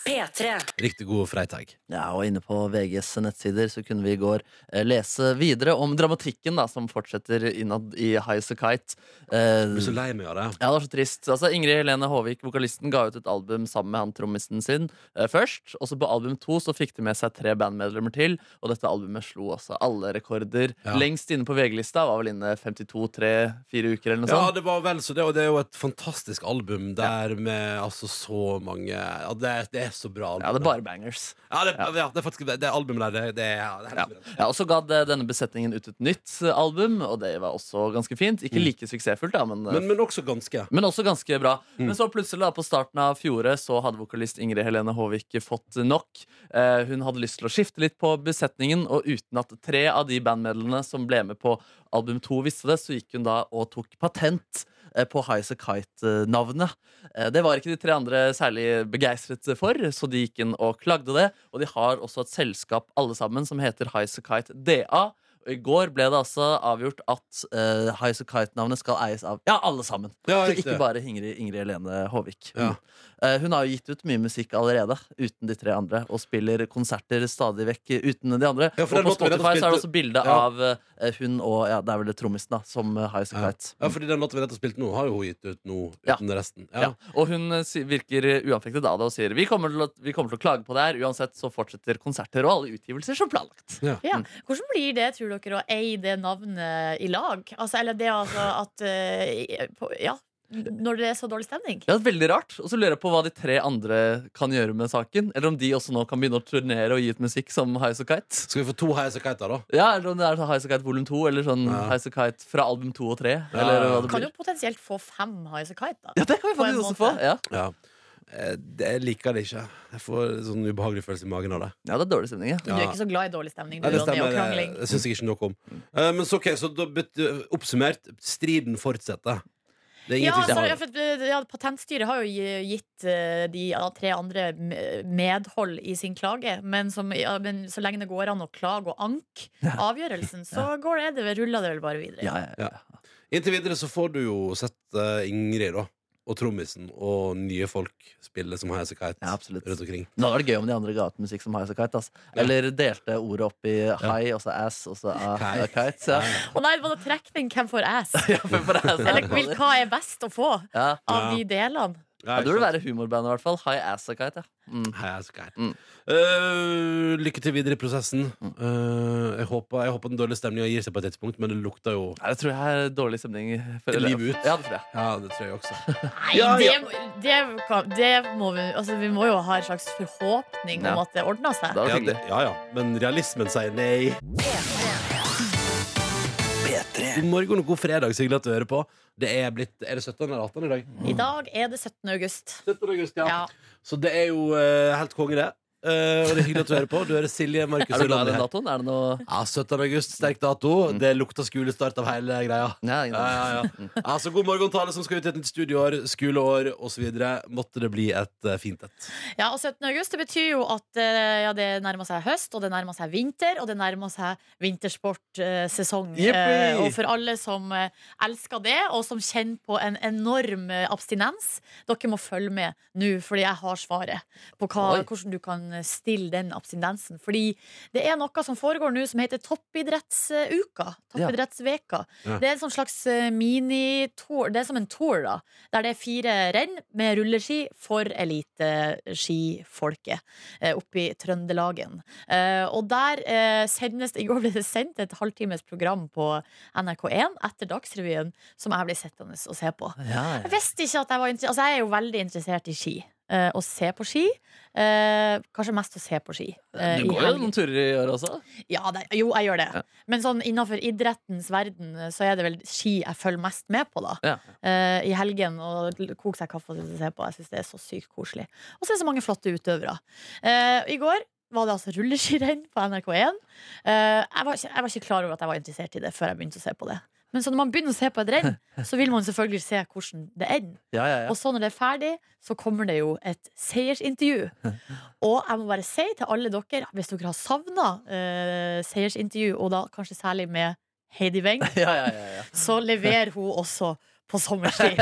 Speaker 2: P3.
Speaker 4: Riktig god freitag.
Speaker 6: Ja, og inne på VGs nettsider så kunne vi i går eh, lese videre om dramatikken da, som fortsetter innad i High As A Kite. Eh,
Speaker 4: Jeg blir så lei meg av det.
Speaker 6: ja, det var så trist. Altså, Ingrid Helene Håvik, vokalisten, ga ut et album sammen med han trommisen sin eh, først. Og så på album to så fikk de med seg tre bandmedlemmer til, og dette albumet slo også alle rekorder.
Speaker 4: Ja.
Speaker 6: Lengst inne på VG-lista var vel inne 52-3-4 uker eller noe
Speaker 4: Ja,
Speaker 6: sånt.
Speaker 4: det var vel så det, og det er jo et fantastisk album der med altså så mange ja, det, er- det er så bra. Album,
Speaker 6: Ja, det er bare bangers.
Speaker 4: ja, det, ja, det er faktisk det, det albumet der, det, det, er- ja, det er
Speaker 6: Ja.
Speaker 4: helt bra.
Speaker 6: ja, Og så ga det, denne besetningen ut et nytt eh, album, og det var også ganske fint. Ikke like suksessfullt, da, men, eh,
Speaker 4: Men, men også ganske.
Speaker 6: Men også ganske bra. Men så plutselig da, på starten av fjoråret så hadde vokalist Ingrid Helene Håvik fått nok. Eh, hun hadde lyst til å skifte litt på besetningen, og uten at tre av de bandmedlemmene som ble med på album to, visste det, så gikk hun da og tok patent eh, på High As A Kite-navnet. Eh, Det var ikke de tre andre særlig begeistret for, så de gikk inn og klagde det. Og de har også et selskap alle sammen som heter High As A Kite DA. Og I går ble det altså avgjort at uh, Highas Kite-navnet skal eies av ja, alle sammen.
Speaker 4: Ja,
Speaker 6: så
Speaker 4: riktig.
Speaker 6: ikke bare Ingrid, Ingrid Helene Håvik.
Speaker 4: Ja.
Speaker 6: Eh, hun har jo gitt ut mye musikk allerede, uten de tre andre, og spiller konserter stadig vekk uten de andre.
Speaker 4: Ja,
Speaker 6: og
Speaker 4: for den
Speaker 6: på
Speaker 4: låten vi nettopp
Speaker 6: Spotify så er
Speaker 4: spilte-
Speaker 6: det også bilde
Speaker 4: Ja.
Speaker 6: av eh, hun og ja, det er vel trommisen, da, som uh, Highas
Speaker 4: Ja.
Speaker 6: Kite.
Speaker 4: ja, fordi den låten vi nettopp spilte nå, har jo hun gitt ut nå
Speaker 6: Ja.
Speaker 4: uten resten.
Speaker 6: Ja.
Speaker 4: Ja.
Speaker 6: Og hun eh, si- virker eh, uaffektet av det og sier vi kommer, til å, vi kommer til å klage på det her. Uansett så fortsetter konserter og alle utgivelser som planlagt.
Speaker 5: Ja. Hvordan blir det, tror dere, å eie det navnet i lag? Altså, eller det altså at eh, på- Ja, når det er så dårlig stemning?
Speaker 6: Ja, veldig rart. Og så lurer jeg på hva de tre andre kan gjøre med saken. Eller om de også nå kan begynne å turnere og gi ut musikk som Highas and Kite.
Speaker 4: Skal vi få to Highas og Kite, da?
Speaker 6: Ja, eller om det er sånn Highas and Kite volum 2, eller sånn
Speaker 4: Ja.
Speaker 6: Highas and Kite fra album 2 og 3.
Speaker 4: Ja.
Speaker 6: Eller hva det
Speaker 5: Kan jo
Speaker 6: blir.
Speaker 5: potensielt få fem Highas Kite, da.
Speaker 6: Ja, det kan vi
Speaker 5: På en
Speaker 6: faktisk også få.
Speaker 5: måte.
Speaker 6: Ja.
Speaker 4: Ja. Eh, Det jeg liker det ikke. Jeg får sånn ubehagelig følelse i magen av det.
Speaker 6: ja, det er dårlig stemning. Ja.
Speaker 5: Du er ikke så glad i dårlig stemning, du,
Speaker 4: Nei, det
Speaker 5: Ronny, og
Speaker 6: eh,
Speaker 4: stemmer. Det,
Speaker 5: krangling.
Speaker 4: det syns jeg ikke noe om. Eh, men så, ok, så da, bet- oppsummert, striden fortsetter. Det er
Speaker 5: Ja,
Speaker 4: ingen tvil
Speaker 5: altså,
Speaker 4: om
Speaker 5: ja,
Speaker 4: det.
Speaker 5: for, at, ja, Patentstyret har jo gi- gitt eh, de ja, tre andre me- medhold i sin klage, men, som, ja, men så lenge det går an å klage og
Speaker 4: [laughs]
Speaker 5: anke avgjørelsen, så går det, det ruller det vel bare videre.
Speaker 6: Ja, ja, ja.
Speaker 4: Inntil videre så får du jo sett eh, Ingrid da og trommisen og nye folk spille som Highas og Kite
Speaker 6: Ja, absolutt.
Speaker 4: rundt omkring.
Speaker 6: Men Det hadde vært gøy om de andre ga ut musikk som Highas and Kite. ass. Eller delte ordet opp i high, og så ass, og så a,
Speaker 4: Kite.
Speaker 6: a kite. Ja.
Speaker 5: Å nei, det var da trekning hvem får ass?
Speaker 4: [laughs]
Speaker 6: Ja, for- for ass,
Speaker 5: Eller vil,
Speaker 6: ja.
Speaker 5: hva er best å få
Speaker 6: Ja.
Speaker 5: av
Speaker 4: Ja.
Speaker 5: de delene?
Speaker 6: Ja, det burde være humorbandet, i hvert fall. High ass a kite. Ja. Mm.
Speaker 4: Highas og Kite.
Speaker 6: Mm.
Speaker 4: Eh, lykke til videre i prosessen. Eh, jeg, håper, jeg håper den dårlige stemninga gir seg på et tidspunkt, men det lukter jo
Speaker 6: Nei, det tror jeg er dårlig stemning. for-
Speaker 4: Liv ut.
Speaker 6: Ja, det tror jeg.
Speaker 4: Ja, det tror jeg også.
Speaker 5: Nei,
Speaker 4: Ja,
Speaker 5: det,
Speaker 4: ja.
Speaker 5: må- det, kan, det må vi Altså, vi må jo ha en slags forhåpning om
Speaker 6: Ja.
Speaker 5: at det ordner seg.
Speaker 6: Det var
Speaker 4: Ja,
Speaker 6: hyggelig.
Speaker 4: det, ja, ja. Men realismen sier nei. God morgen og god fredag, så hyggelig at du hører på. Det er blitt Er det 17. eller 18. i dag?
Speaker 5: I dag er det 17. august.
Speaker 4: 17. august,
Speaker 5: Ja.
Speaker 4: Så det er jo eh, helt konge, det. Eh, og det er hyggelig at du hører på. Du hører Silje, Markus
Speaker 6: [laughs] Er du
Speaker 4: og
Speaker 6: glad i
Speaker 4: Ronny
Speaker 6: den
Speaker 4: her.
Speaker 6: datoen? Er det noe
Speaker 4: Ja, 17. august, sterk dato. Det lukter skolestart av hele greia.
Speaker 6: [laughs] Nei, ingen
Speaker 4: Ja,
Speaker 6: aning.
Speaker 4: ja, ja. Altså, god morgen til alle som skal ut i et nytt studieår, skoleår osv. Måtte det bli et eh, fint et.
Speaker 5: Ja, og 17. august det betyr jo at eh, ja, det nærmer seg høst, og det nærmer seg vinter, og det nærmer seg vintersportsesong. eh,
Speaker 6: Yippee!
Speaker 5: og for alle som eh, elsker det, og som kjenner på en enorm eh, abstinens, dere må følge med nå, fordi jeg har svaret på hva,
Speaker 6: Oi.
Speaker 5: hvordan du kan stille den abstinensen. Fordi det er noe som foregår nå som heter toppidrettsuka. Toppidrettsveka.
Speaker 4: Ja.
Speaker 5: Det er en sånn slags eh, mini-tour. Det er som en tour, da. Der det er fire renn med rulleski for eliteskifolket eh, oppe i Trøndelagen. Eh, og der eh, sendes I går ble det sendt et halvtimes program på NRK1 etter Dagsrevyen som jeg ble sittende og se på.
Speaker 6: Ja,
Speaker 5: Jeg visste ikke at jeg var interessert Altså, jeg er jo veldig interessert i ski. eh, og se på ski. Eh, kanskje mest å se på ski. eh,
Speaker 6: Du
Speaker 5: i
Speaker 6: går jo
Speaker 5: helgen.
Speaker 6: noen turer i år også.
Speaker 5: Ja, det, jo, jeg gjør det. Men sånn innenfor idrettens verden eh, så er det vel ski jeg følger mest med på, da.
Speaker 6: Ja.
Speaker 5: Eh, I helgen og l- koke seg kaffe og sitte og se på. Jeg syns det er så sykt koselig. Og så er det så mange flotte utøvere. Eh, I går var det altså rulleskirenn på NRK1. Eh, jeg, var ikke, jeg var ikke klar over at jeg var interessert i det før jeg begynte å se på det. Men så når man begynner å se på et renn, så vil man selvfølgelig se hvordan det ender.
Speaker 6: Ja, ja, ja.
Speaker 5: Og så når det er ferdig, så kommer det jo et seiersintervju.
Speaker 4: [laughs]
Speaker 5: Og jeg må bare si til alle dere, hvis dere har savna eh, seiersintervju, og da kanskje særlig med Heidi Weng,
Speaker 6: ja, ja, ja, ja.
Speaker 4: [laughs]
Speaker 5: så leverer hun også på sommerski.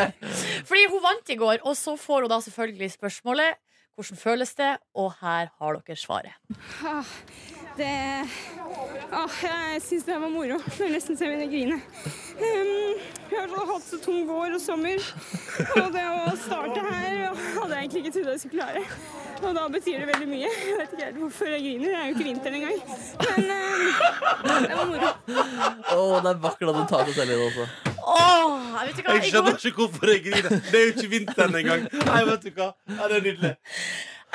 Speaker 5: Fordi hun vant i går, og så får hun da selvfølgelig spørsmålet hvordan føles det? Og her har dere svaret.
Speaker 8: Åh, det Åh, jeg syns det her var moro. Det er nesten så jeg begynner å grine. Um, jeg har hatt så tung vår og sommer, og det å starte her hadde jeg egentlig ikke trodd jeg skulle klare. Og da betyr det veldig mye. Jeg vet ikke helt hvorfor jeg griner. Det er jo ikke vinter engang. Men um, det var moro.
Speaker 6: Å, det er vakkert at du tar deg selv i det også.
Speaker 5: Åh, jeg vet ikke hva,
Speaker 4: Jeg
Speaker 5: i går
Speaker 4: skjønner ikke hvorfor jeg griner. Det er jo ikke vinteren engang. Nei, vet du hva? Ja, det er nydelig.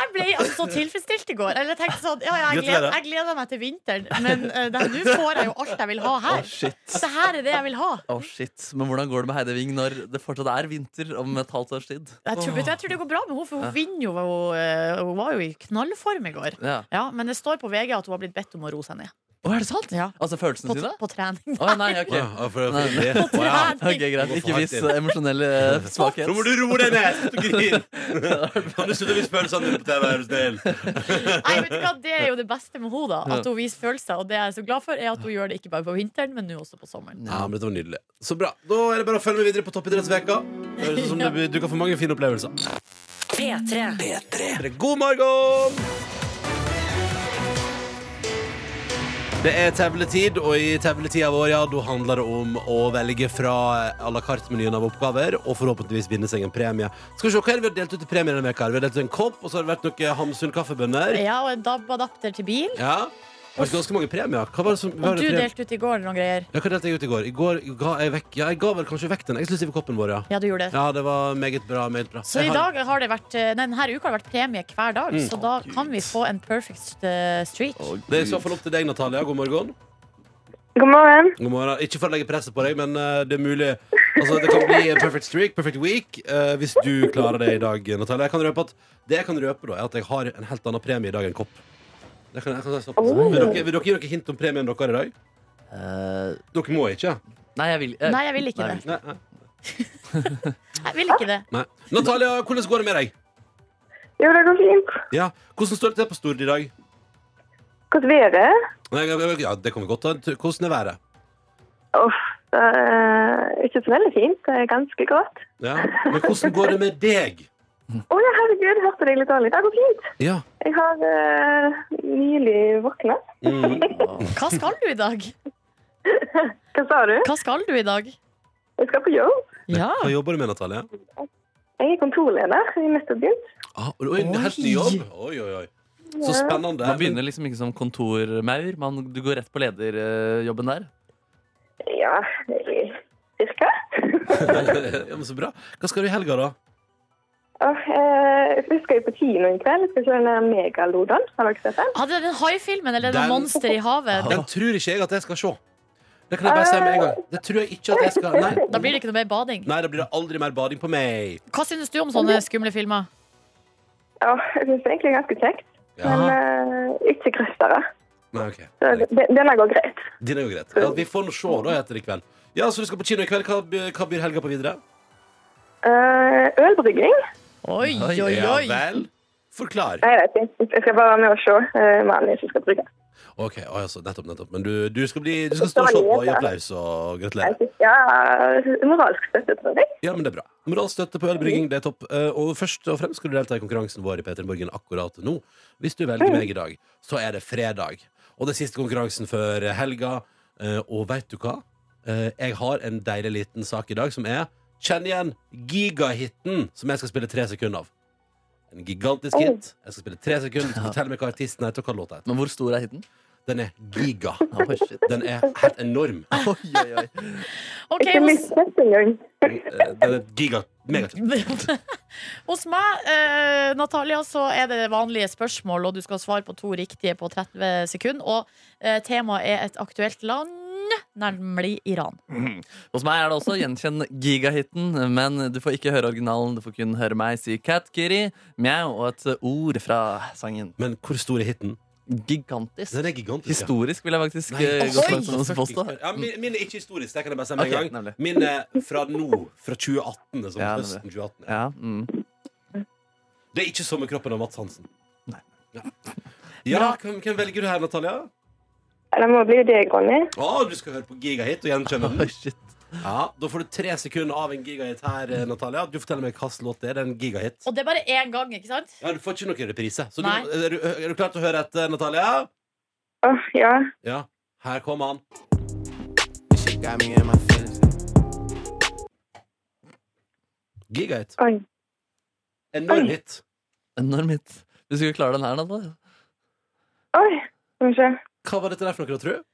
Speaker 5: Jeg ble altså så tilfredsstilt i går. Eller jeg tenkte sånn, ja, ja, jeg, gleder,
Speaker 4: Gratulerer.
Speaker 5: jeg gleder meg til vinteren, men eh, det- nå får jeg jo alt jeg vil ha her.
Speaker 6: shit.
Speaker 5: Det her er det jeg vil ha.
Speaker 6: Å, shit. Men hvordan går det med Heidi Wing når det fortsatt er vinter om et halvt års tid?
Speaker 5: Jeg tror, vet du, jeg tror det går bra med henne, for hun vinner jo. Hun, eh, hun var jo i knallform i går.
Speaker 6: Ja.
Speaker 5: Ja, Men det står på VG at hun har blitt bedt om å roe seg ned.
Speaker 6: Å, er det sant?
Speaker 5: Ja.
Speaker 6: Altså følelsene
Speaker 5: På,
Speaker 6: sine?
Speaker 5: på trening. [laughs]
Speaker 6: Å, nei, ok.
Speaker 4: Ja, for, for,
Speaker 6: [laughs]
Speaker 4: for, for, ja.
Speaker 6: Ok, greit. Ikke vis eh, emosjonell eh, svakhet.
Speaker 4: Nå må du roe deg ned! Slutt å grine! Kan du slutte å vise følelsene dine på TV? Er du snill?
Speaker 5: Nei, vet du hva, Det er jo det beste med henne, da. At hun viser følelser. Og det jeg er så glad for, er at hun gjør det ikke bare på vinteren, men nå også på sommeren.
Speaker 4: Ja, men dette var nydelig. Så bra. Da er det bare å følge med videre på Toppidrettsveka. Det høres ut som du, du kan få mange fine opplevelser.
Speaker 2: P3.
Speaker 4: God morgen! Det er tavletid, og i tavletida vår ja, da handler det om å velge fra eh, à la carte-menyen av oppgaver og forhåpentligvis vinne seg en premie. Skal vi se, Hva er det vi har delt ut i premie denne veka? Vi har delt ut en kopp, og så har det vært noen Hamsun kaffebønner.
Speaker 5: Ja, og en DAB-adapter til bil.
Speaker 4: Ja. Det har vært ganske mange premier. Hva var det som, hva var
Speaker 5: Og
Speaker 4: det
Speaker 5: du
Speaker 4: premie-
Speaker 5: delte ut i går noen greier.
Speaker 4: Ja, hva delte jeg ut i går? I går ga jeg vekk Ja, jeg ga vel kanskje vekk den eksklusive koppen vår, ja.
Speaker 5: Ja, du gjorde det.
Speaker 4: Ja, det var meget bra. Meget bra.
Speaker 5: Så i
Speaker 4: Jeg har-
Speaker 5: dag har det vært, eh, nei, denne uka har det vært premie hver dag,
Speaker 4: Mm.
Speaker 5: så da kan vi få en perfect eh, streak.
Speaker 4: Det er i så fall opp til deg, Natalia. God morgen.
Speaker 8: God morgen.
Speaker 4: God morgen. Ikke for å legge presset på deg, men eh, det er mulig. Altså, det kan bli en perfect streak, perfect week, eh, hvis du klarer det i dag, Natalia. Jeg kan røpe at det jeg kan røpe, da, er at jeg har en helt annen premie i dag enn kopp. Det kan jeg, kan jeg stoppe. Vil, dere, vil dere gi dere hint om premien dere har i dag?
Speaker 6: Eh,
Speaker 4: Dere må ikke.
Speaker 6: nei, jeg vil eh,
Speaker 5: Nei, jeg vil ikke
Speaker 6: Nei,
Speaker 5: det.
Speaker 4: Nei, nei,
Speaker 5: Jeg vil ikke det.
Speaker 4: nei. Natalia, hvordan går det med deg?
Speaker 8: Jo, det går fint.
Speaker 4: Ja, Hvordan står det til på Stord i dag?
Speaker 8: Godt være.
Speaker 4: Nei, Ja, det kommer godt an. Hvordan er været?
Speaker 8: Uff, det er ikke så veldig fint. Det er ganske godt.
Speaker 4: Ja. Men hvordan går det med deg?
Speaker 8: Å ja, herregud, hørte deg litt dårlig. Det går fint.
Speaker 4: Ja.
Speaker 8: Jeg har eh, nylig våkna.
Speaker 4: Mm.
Speaker 5: Hva skal du i dag?
Speaker 8: Hva sa du?
Speaker 5: Hva skal du i dag?
Speaker 8: Jeg skal på jobb.
Speaker 5: Ja.
Speaker 4: Hva jobber du med, Natalie?
Speaker 8: Jeg er kontorleder i nettopp begynt.
Speaker 4: Ah, oi, en helt ny
Speaker 5: Oi.
Speaker 4: jobb? Oi, oi, oi. Så spennende.
Speaker 6: Man begynner liksom ikke som kontormaur. Man, du går rett på lederjobben der.
Speaker 8: Ja, egentlig cirka.
Speaker 4: [laughs] ja, men så bra. Hva skal du i helga, da?
Speaker 8: Og, eh, vi skal jo på kino i kveld. Vi skal se den der megalodon. Har dere sett den?
Speaker 5: Hadde den haifilmen eller den
Speaker 4: Den-
Speaker 5: monster i havet?
Speaker 4: Den tror ikke jeg at jeg skal se. Det kan jeg bare si med en gang. Det tror jeg ikke at jeg skal Nei,
Speaker 5: Ah. [laughs] Da blir det ikke noe mer bading.
Speaker 4: Nei da blir det aldri mer bading på meg.
Speaker 5: Hva synes du om sånne skumle filmer?
Speaker 8: Ja, jeg syns egentlig det er ganske kjekt. Men
Speaker 4: Ja.
Speaker 8: eh, ikke grøstere.
Speaker 4: Nei, ok.
Speaker 8: Så de- denne går greit.
Speaker 4: Din er jo greit. Ja, vi får nå se, da, heter det i kveld. Ja, Så du skal på kino i kveld. Hva, by- hva byr helga på videre?
Speaker 8: Eh, ølbrygging?
Speaker 5: Oi, oi,
Speaker 4: Ja
Speaker 5: oi.
Speaker 4: vel. Forklar.
Speaker 8: Nei, jeg vet ikke. Jeg skal bare være med og se eh, mannen min som skal brygge.
Speaker 4: Ok, å, ja, så nettopp, nettopp. Men du, du, skal bli, du skal stå og se på og gi applaus og
Speaker 8: Jeg
Speaker 4: gratulere.
Speaker 8: synes, ja, moralsk støtte, tror jeg.
Speaker 4: Ja, men det er bra. Moralsk støtte på ølbrygging, det er topp. Eh, Og først og fremst skal du delta i konkurransen vår i Peter Morgen akkurat nå. Hvis du velger meg i dag, så er det fredag. Og det er siste konkurransen før helga. Eh, Og veit du hva? Eh, Jeg har en deilig liten sak i dag som er Kjenn igjen gigahitten som jeg skal spille tre sekunder av. En gigantisk hit. Jeg skal spille tre sekunder. Du skal fortelle meg hva artisten heter og hva låta heter.
Speaker 6: Men hvor stor er hiten?
Speaker 4: Den er giga.
Speaker 6: Oi, shit.
Speaker 4: Den er helt enorm.
Speaker 6: Oi, oi, oi.
Speaker 5: Ok,
Speaker 9: Ikke
Speaker 5: hos,
Speaker 9: mitt test engang.
Speaker 4: Eh, Den er giga. Megatøff.
Speaker 5: [laughs] hos meg, eh, Natalia, så er det vanlige spørsmål, og du skal svare på to riktige på 30 sekunder. Og eh, temaet er et aktuelt land, nemlig Iran.
Speaker 6: Hos meg er det også gjenkjenn gigahiten, men du får ikke høre originalen. Du får kun høre meg si Cat Kitty, mjau og et ord fra sangen.
Speaker 4: Men hvor stor er hiten?
Speaker 6: Gigantisk.
Speaker 4: Den er gigantisk. ja.
Speaker 6: Historisk, vil jeg faktisk
Speaker 4: Nei,
Speaker 6: eh,
Speaker 4: oi!
Speaker 6: gå så langt som å påstå.
Speaker 4: Ja, min, min er ikke historisk, det kan jeg bare si med
Speaker 6: Ok,
Speaker 4: en gang.
Speaker 6: nemlig.
Speaker 4: Min er fra nå, fra 2018. Liksom,
Speaker 6: Ja, nemlig.
Speaker 4: høsten 2018.
Speaker 6: Ja, mm.
Speaker 4: Det er ikke sommerkroppen av Mats Hansen.
Speaker 6: Nei.
Speaker 4: Ja, ja hvem, hvem velger du her, Natalia?
Speaker 9: Det må bli deg, Ronny.
Speaker 4: Å, du skal høre på gigahit og gjenkjenne
Speaker 6: Oi,
Speaker 4: den.
Speaker 6: shit.
Speaker 4: Ja, Da får du tre sekunder av en gigahit her, eh, Natalia. Du forteller meg hvilken låt det er. Det er en gigahit.
Speaker 5: Og det er bare én gang, ikke sant?
Speaker 4: Ja, Du får ikke noen reprise. Så du,
Speaker 5: Nei.
Speaker 4: er, du, er du klar til å høre etter, Natalia?
Speaker 9: Åh, ja.
Speaker 4: Ja. Her kommer han. Gigahit.
Speaker 9: Oi.
Speaker 4: Enorm
Speaker 9: Oi.
Speaker 4: hit.
Speaker 6: Enorm hit. Du skulle klare den her, Natalia.
Speaker 9: Oi. Skal vi se.
Speaker 4: Hva var dette der for noe, tror du?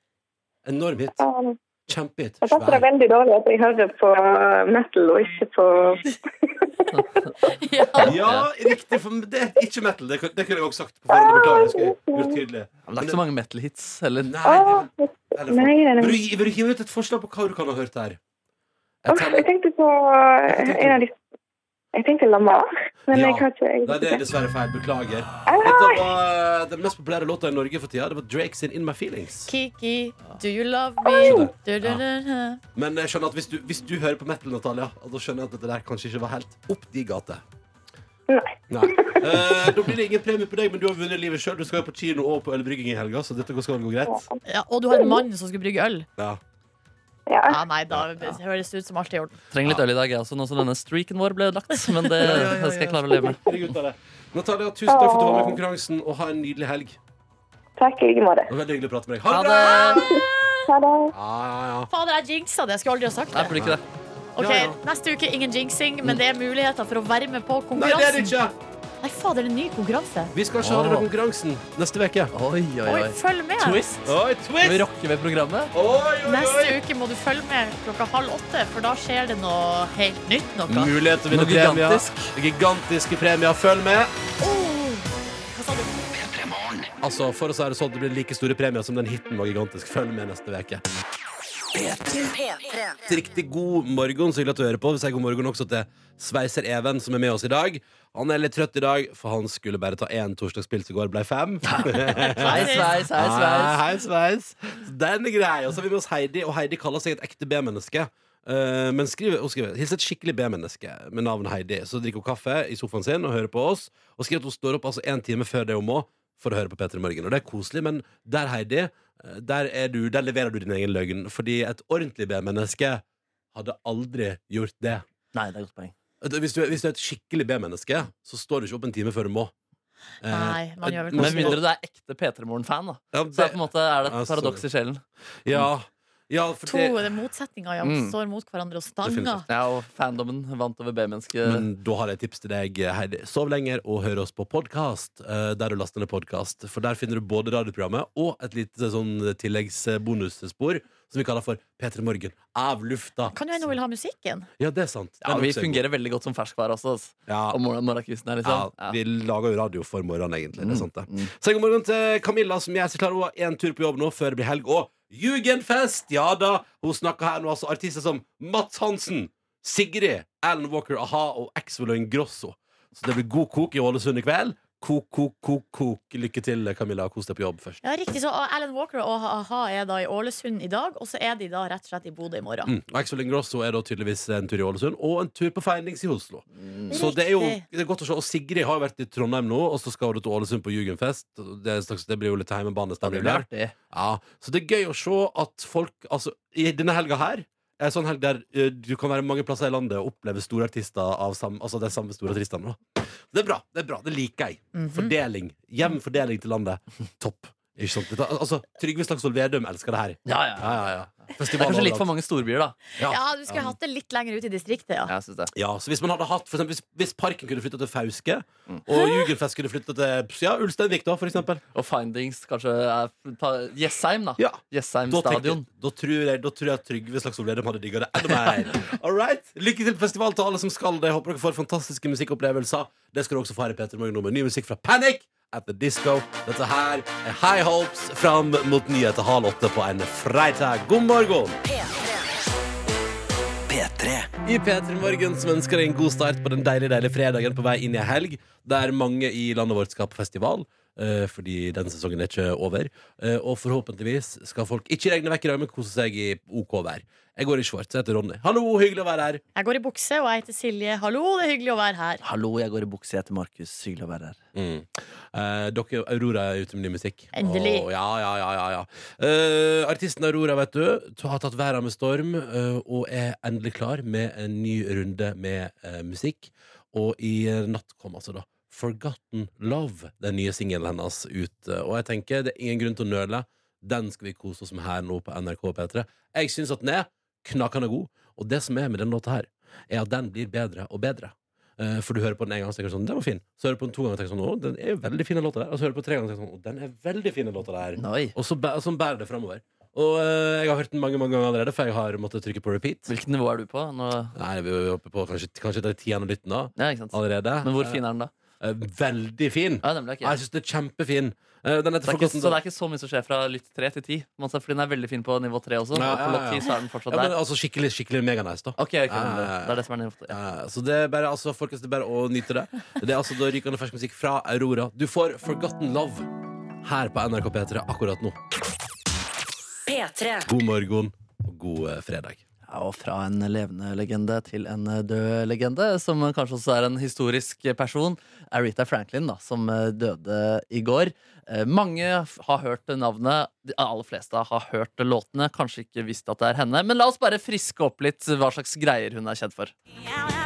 Speaker 4: Enorm hit.
Speaker 9: Um,
Speaker 4: Kjempehit.
Speaker 9: Jeg passer det
Speaker 4: Svær.
Speaker 9: veldig dårlig at jeg hører på eh, metal og ikke på
Speaker 5: Ja.
Speaker 4: Ja, riktig. For det er ikke metal. Det, kan- det kunne jeg også sagt på forhånd. Beklager. Jeg skulle gjort tydelig.
Speaker 6: Ja, men det er ikke så mange metal-hits heller.
Speaker 4: Nei,
Speaker 9: Åh,
Speaker 4: det- eller for-
Speaker 9: Nei, nei, nei.
Speaker 4: Vil du, gi- vil du hive ut et forslag på hva du kan ha hørt her? Jeg
Speaker 9: Åh, jeg
Speaker 4: teller-
Speaker 9: tenkte på en av de Jeg tenkte Lamar, men
Speaker 4: Ja.
Speaker 9: jeg har ikke
Speaker 4: Nei, det er
Speaker 9: jeg,
Speaker 4: dessverre feil. Beklager. Dette var eh, den mest populære låta i Norge for tida. Det var Drake sin 'In My Feelings'.
Speaker 5: [laughs] Kiki, do you love me? Du, du, du, du.
Speaker 4: Men jeg skjønner at hvis du, hvis du hører på metal, Natalia, og da skjønner jeg at dette der kanskje ikke var helt opp de gater.
Speaker 9: Nei.
Speaker 4: Nei. Eh, da blir det ingen premie på deg, men du har vunnet livet sjøl. Du skal jo på kino og på ølbrygging i helga, så dette skal vel gå greit.
Speaker 5: Ja, og du har en mann som skulle brygge øl.
Speaker 4: Ja.
Speaker 9: Ja.
Speaker 5: Ja, nei, da høres det ut som alt er i orden.
Speaker 6: Trenger litt øl i dag, jeg også, nå som denne streaken vår ble lagt. Men det,
Speaker 4: Ja, ja, ja,
Speaker 6: det skal
Speaker 4: ja.
Speaker 6: jeg klare å leve med.
Speaker 4: Herregud, ta det. Natalia, tusen takk for at du var med i konkurransen, og ha en nydelig helg. Det
Speaker 9: Takk i like måte.
Speaker 4: var Veldig hyggelig å prate med deg.
Speaker 6: Ha
Speaker 4: Ha det!
Speaker 6: det!
Speaker 9: Ha det.
Speaker 4: Ja, ja, ja.
Speaker 5: Fader, jeg jinxa det. Jeg skulle aldri ha sagt
Speaker 6: Nei,
Speaker 5: det.
Speaker 6: burde ikke det.
Speaker 5: Ok,
Speaker 4: Ja, ja.
Speaker 5: Neste uke ingen jinxing, men det er muligheter for å være med på
Speaker 4: Nei, det er
Speaker 5: konkurransen.
Speaker 4: det ikke!
Speaker 5: Nei, fader, det er en ny konkurranse.
Speaker 4: Vi skal ikke ha denne konkurransen neste uke.
Speaker 6: Oi, oi,
Speaker 5: Oi,
Speaker 6: oi.
Speaker 5: følg med.
Speaker 6: Twist.
Speaker 4: Oi,
Speaker 6: Skal vi
Speaker 4: twist!
Speaker 6: rocke ved programmet?
Speaker 4: Oi, oi,
Speaker 5: Neste uke må du følge med klokka halv åtte, for da skjer det noe helt nytt. noe.
Speaker 4: Mulighet til å vinne
Speaker 6: Noe
Speaker 4: premier.
Speaker 6: gigantisk.
Speaker 4: Gigantiske premier. Følg med.
Speaker 5: Hva sa du?
Speaker 4: Altså, for oss er det sånn at det blir like store premier som den hiten var gigantisk. Følg med neste uke.
Speaker 2: P3.
Speaker 4: Riktig god morgen, så hyggelig at du hører på. Vi sier god morgen også til Sveiser Even, som er med oss i dag. Han er litt trøtt i dag, for han skulle bare ta én torsdagspils i går, ble
Speaker 6: [laughs]
Speaker 4: fem.
Speaker 6: Sveis, sveis, sveis,
Speaker 4: Ah,
Speaker 6: sveis.
Speaker 4: Hei, sveis. Så Den er grei. Og så har vi med oss Heidi, og Heidi kaller seg et ekte B-menneske. Eh, men skriver, hun skriver Hils et skikkelig B-menneske med navn Heidi. Så drikker hun kaffe i sofaen sin og hører på oss. Og skriver at hun står opp altså en time før det hun må for å høre på P3 Morgen. Og det er koselig, men der, Heidi, eh, der, er du, der leverer du din egen løgn. Fordi et ordentlig B-menneske hadde aldri gjort det.
Speaker 6: Nei, det er et godt poeng.
Speaker 4: Vet du, Hvis du, er- hvis du er et skikkelig B-menneske, så står du ikke opp en time før du må. Eh,
Speaker 5: Nei, man gjør vel
Speaker 6: Med
Speaker 5: kanskje
Speaker 6: mindre du er ekte P3-morgen-fan, da.
Speaker 4: ja,
Speaker 6: Så er, på en
Speaker 4: det, Altså-
Speaker 6: måte, er det
Speaker 4: Ja,
Speaker 6: et paradoks i sjelen.
Speaker 4: ja, ja, for
Speaker 5: To
Speaker 4: det-
Speaker 5: det er motsetninger ja,
Speaker 6: Mm.
Speaker 5: står mot hverandre og stanger.
Speaker 4: Definitivt.
Speaker 6: Ja, og fandomen vant over B-mennesket.
Speaker 4: Men da har jeg et tips til deg, Heidi. Sov lenger og hør oss på podkast, der du laster ned podkast. For der finner du både radioprogrammet og et lite sånn tilleggsbonusspor som vi kaller for P3 Morgen av lufta.
Speaker 5: Kan jo hende hun vil ha musikken.
Speaker 4: Ja, det er sant.
Speaker 6: Ja,
Speaker 4: Den
Speaker 6: vi
Speaker 4: også er god.
Speaker 6: fungerer veldig godt som ferskvare også. ass.
Speaker 4: Ja.
Speaker 6: Og morgen- morgenkvisten her, liksom.
Speaker 4: Ja, vi lager jo radio for morgenen, egentlig. Det er sant, det.
Speaker 6: Mm.
Speaker 4: Så god morgen til eh, Camilla, som gjør seg klar. Hun har en tur på jobb nå før det blir helg. Og Jugendfest! Ja da! Hun snakker her nå, altså. Artister som Mats Hansen, Sigrid, Alan Walker, a-ha og Axel og Ingrosso. Så det blir god kok i Ålesund i kveld. Kok, kok, kok, kok. Lykke til, Camilla. Kos deg på jobb først.
Speaker 5: Ja, riktig, så Alan Walker og a-ha er da i Ålesund i dag, og så er de da rett og slett i Bodø i morgen.
Speaker 4: Mm. Og Axel Ingrosso er da tydeligvis en tur i Ålesund, og en tur på Findings i Oslo.
Speaker 6: Mm.
Speaker 4: Så det er jo
Speaker 5: Riktig.
Speaker 4: det er godt å se. Og Sigrid har jo vært i Trondheim nå, og så skal hun til Ålesund på Jugendfest. Det, er en slags, det blir jo litt
Speaker 6: Ja, det
Speaker 4: heimebanestemning
Speaker 6: blir
Speaker 4: der.
Speaker 6: artig.
Speaker 4: Ja, så det er gøy å se at folk Altså, i denne helga her er en sånn helg der eh, du kan være mange plasser i landet og oppleve store artister av sam, altså de samme store artistene. da. Det er bra. Det er bra, det liker jeg.
Speaker 5: Mhm.
Speaker 4: Fordeling. Jevn fordeling til landet. Topp. Ikke sant? Dette, altså, Trygve Slagsvold Vedum elsker det her.
Speaker 6: Ja, ja.
Speaker 4: Ja, ja, ja.
Speaker 6: Det er
Speaker 4: Festival
Speaker 6: kanskje litt for
Speaker 4: overalt.
Speaker 6: mange storbyer, da.
Speaker 4: Ja.
Speaker 5: Ja, du skulle hatt det litt lenger ut i distriktet, ja.
Speaker 6: Jeg synes det.
Speaker 4: Ja, så hvis man hadde hatt, for eksempel, hvis, hvis Parken kunne flytta til Fauske, og Jugelfest kunne flytta til ja, Ulsteinvik, da, for eksempel
Speaker 6: Og Findings kanskje er ta- Jessheim, da.
Speaker 4: Ja.
Speaker 6: Jessheim
Speaker 4: da, tenkte,
Speaker 6: stadion.
Speaker 4: da, tror jeg, da tror jeg at Trygve Slagsvold Vedum hadde digga det enda mer. All right. Lykke til på festival til alle som skal det. Jeg Håper dere får fantastiske musikkopplevelser. Det skal du også få her i Peter Morgen nå med ny musikk fra Panic! At the Disco. Dette her er High Hopes fram mot nyheter halv åtte på en fredag. God morgen!
Speaker 3: P3.
Speaker 4: I P3 Morgen som ønsker deg en god start på den deilige, deilige fredagen på vei inn i en helg, der mange i landet vårt skal på festival. eh, Fordi den sesongen er ikke over. Eh, Og forhåpentligvis skal folk ikke regne vekk i dag, men kose seg i OK vær. Jeg går i svart. Jeg heter Ronny. Hallo, hyggelig å være her.
Speaker 5: Jeg går i bukse, og jeg heter Silje. Hallo, det er hyggelig å være her.
Speaker 6: Hallo, jeg går i bukse. Jeg heter Markus. Hyggelig å være her.
Speaker 4: Eh, dere, Aurora er ute med ny musikk.
Speaker 5: Endelig.
Speaker 4: Åh, ja, ja, ja, ja, ja. Eh, artisten Aurora vet du, t- har tatt verden med storm eh, og er endelig klar med en ny runde med eh, musikk. Og i eh, natt kom altså da Forgotten Love, den nye singelen hennes, ut. Eh, og jeg tenker det er ingen grunn til å nøle. Den skal vi kose oss med her nå på NRK P3. Jeg syns at den er knakende god. Og det som er med den låta her, er at den blir bedre og bedre. Eh, For du hører på den en gang og tenker du sånn, den var fin. Så hører du på den to ganger og tenker sånn, å, den er veldig fin den låta der. Og så hører du på den tre ganger og tenker sånn, å, den er veldig fin den låta der.
Speaker 6: Oi.
Speaker 4: Og så bæ- sånn bærer det framover. Og eh, jeg har hørt den mange mange ganger allerede, for jeg har måttet trykke på repeat.
Speaker 6: Hvilket nivå er du på? Nå...
Speaker 4: Nei, vi er oppe på kanskje, kanskje det er tiende lytten da,
Speaker 6: Ja, ikke sant?
Speaker 4: allerede.
Speaker 6: Men hvor fin er den, da?
Speaker 4: Eh, Veldig fin.
Speaker 6: Ja, nemlig, ok.
Speaker 4: Jeg synes den er kjempefin. Eh, Den
Speaker 6: Det
Speaker 4: heter
Speaker 6: er ikke,
Speaker 4: Forgotten
Speaker 6: så det er ikke så mye som skjer fra lytt 3 til 10. Man ser, fordi den er veldig fin på nivå 3 også.
Speaker 4: Ja,
Speaker 6: og på
Speaker 4: ja,
Speaker 6: låt
Speaker 4: ja.
Speaker 6: 10 så er den fortsatt
Speaker 4: Ja, men
Speaker 6: der.
Speaker 4: altså skikkelig, skikkelig meganice da.
Speaker 6: Ok, ok,
Speaker 4: Ja, ja, ja.
Speaker 6: Det er det som er nivå 3.
Speaker 4: Eh, Så det er bare, altså, folkens, det er bare å nyte det. Det er altså da rykende fersk musikk fra Aurora. Du får Forgotten Love her på NRK P3 akkurat nå.
Speaker 2: P3.
Speaker 4: God morgen og god eh, fredag.
Speaker 6: Ja, og fra en levende legende til en eh, død legende, som kanskje også er en historisk person. Aretha Franklin, da, som eh, døde i går. Eh, Mange f- har hørt navnet. De aller fleste har hørt låtene. Kanskje ikke visst at det er henne. Men la oss bare friske opp litt hva slags greier hun er kjent for.
Speaker 10: Oh,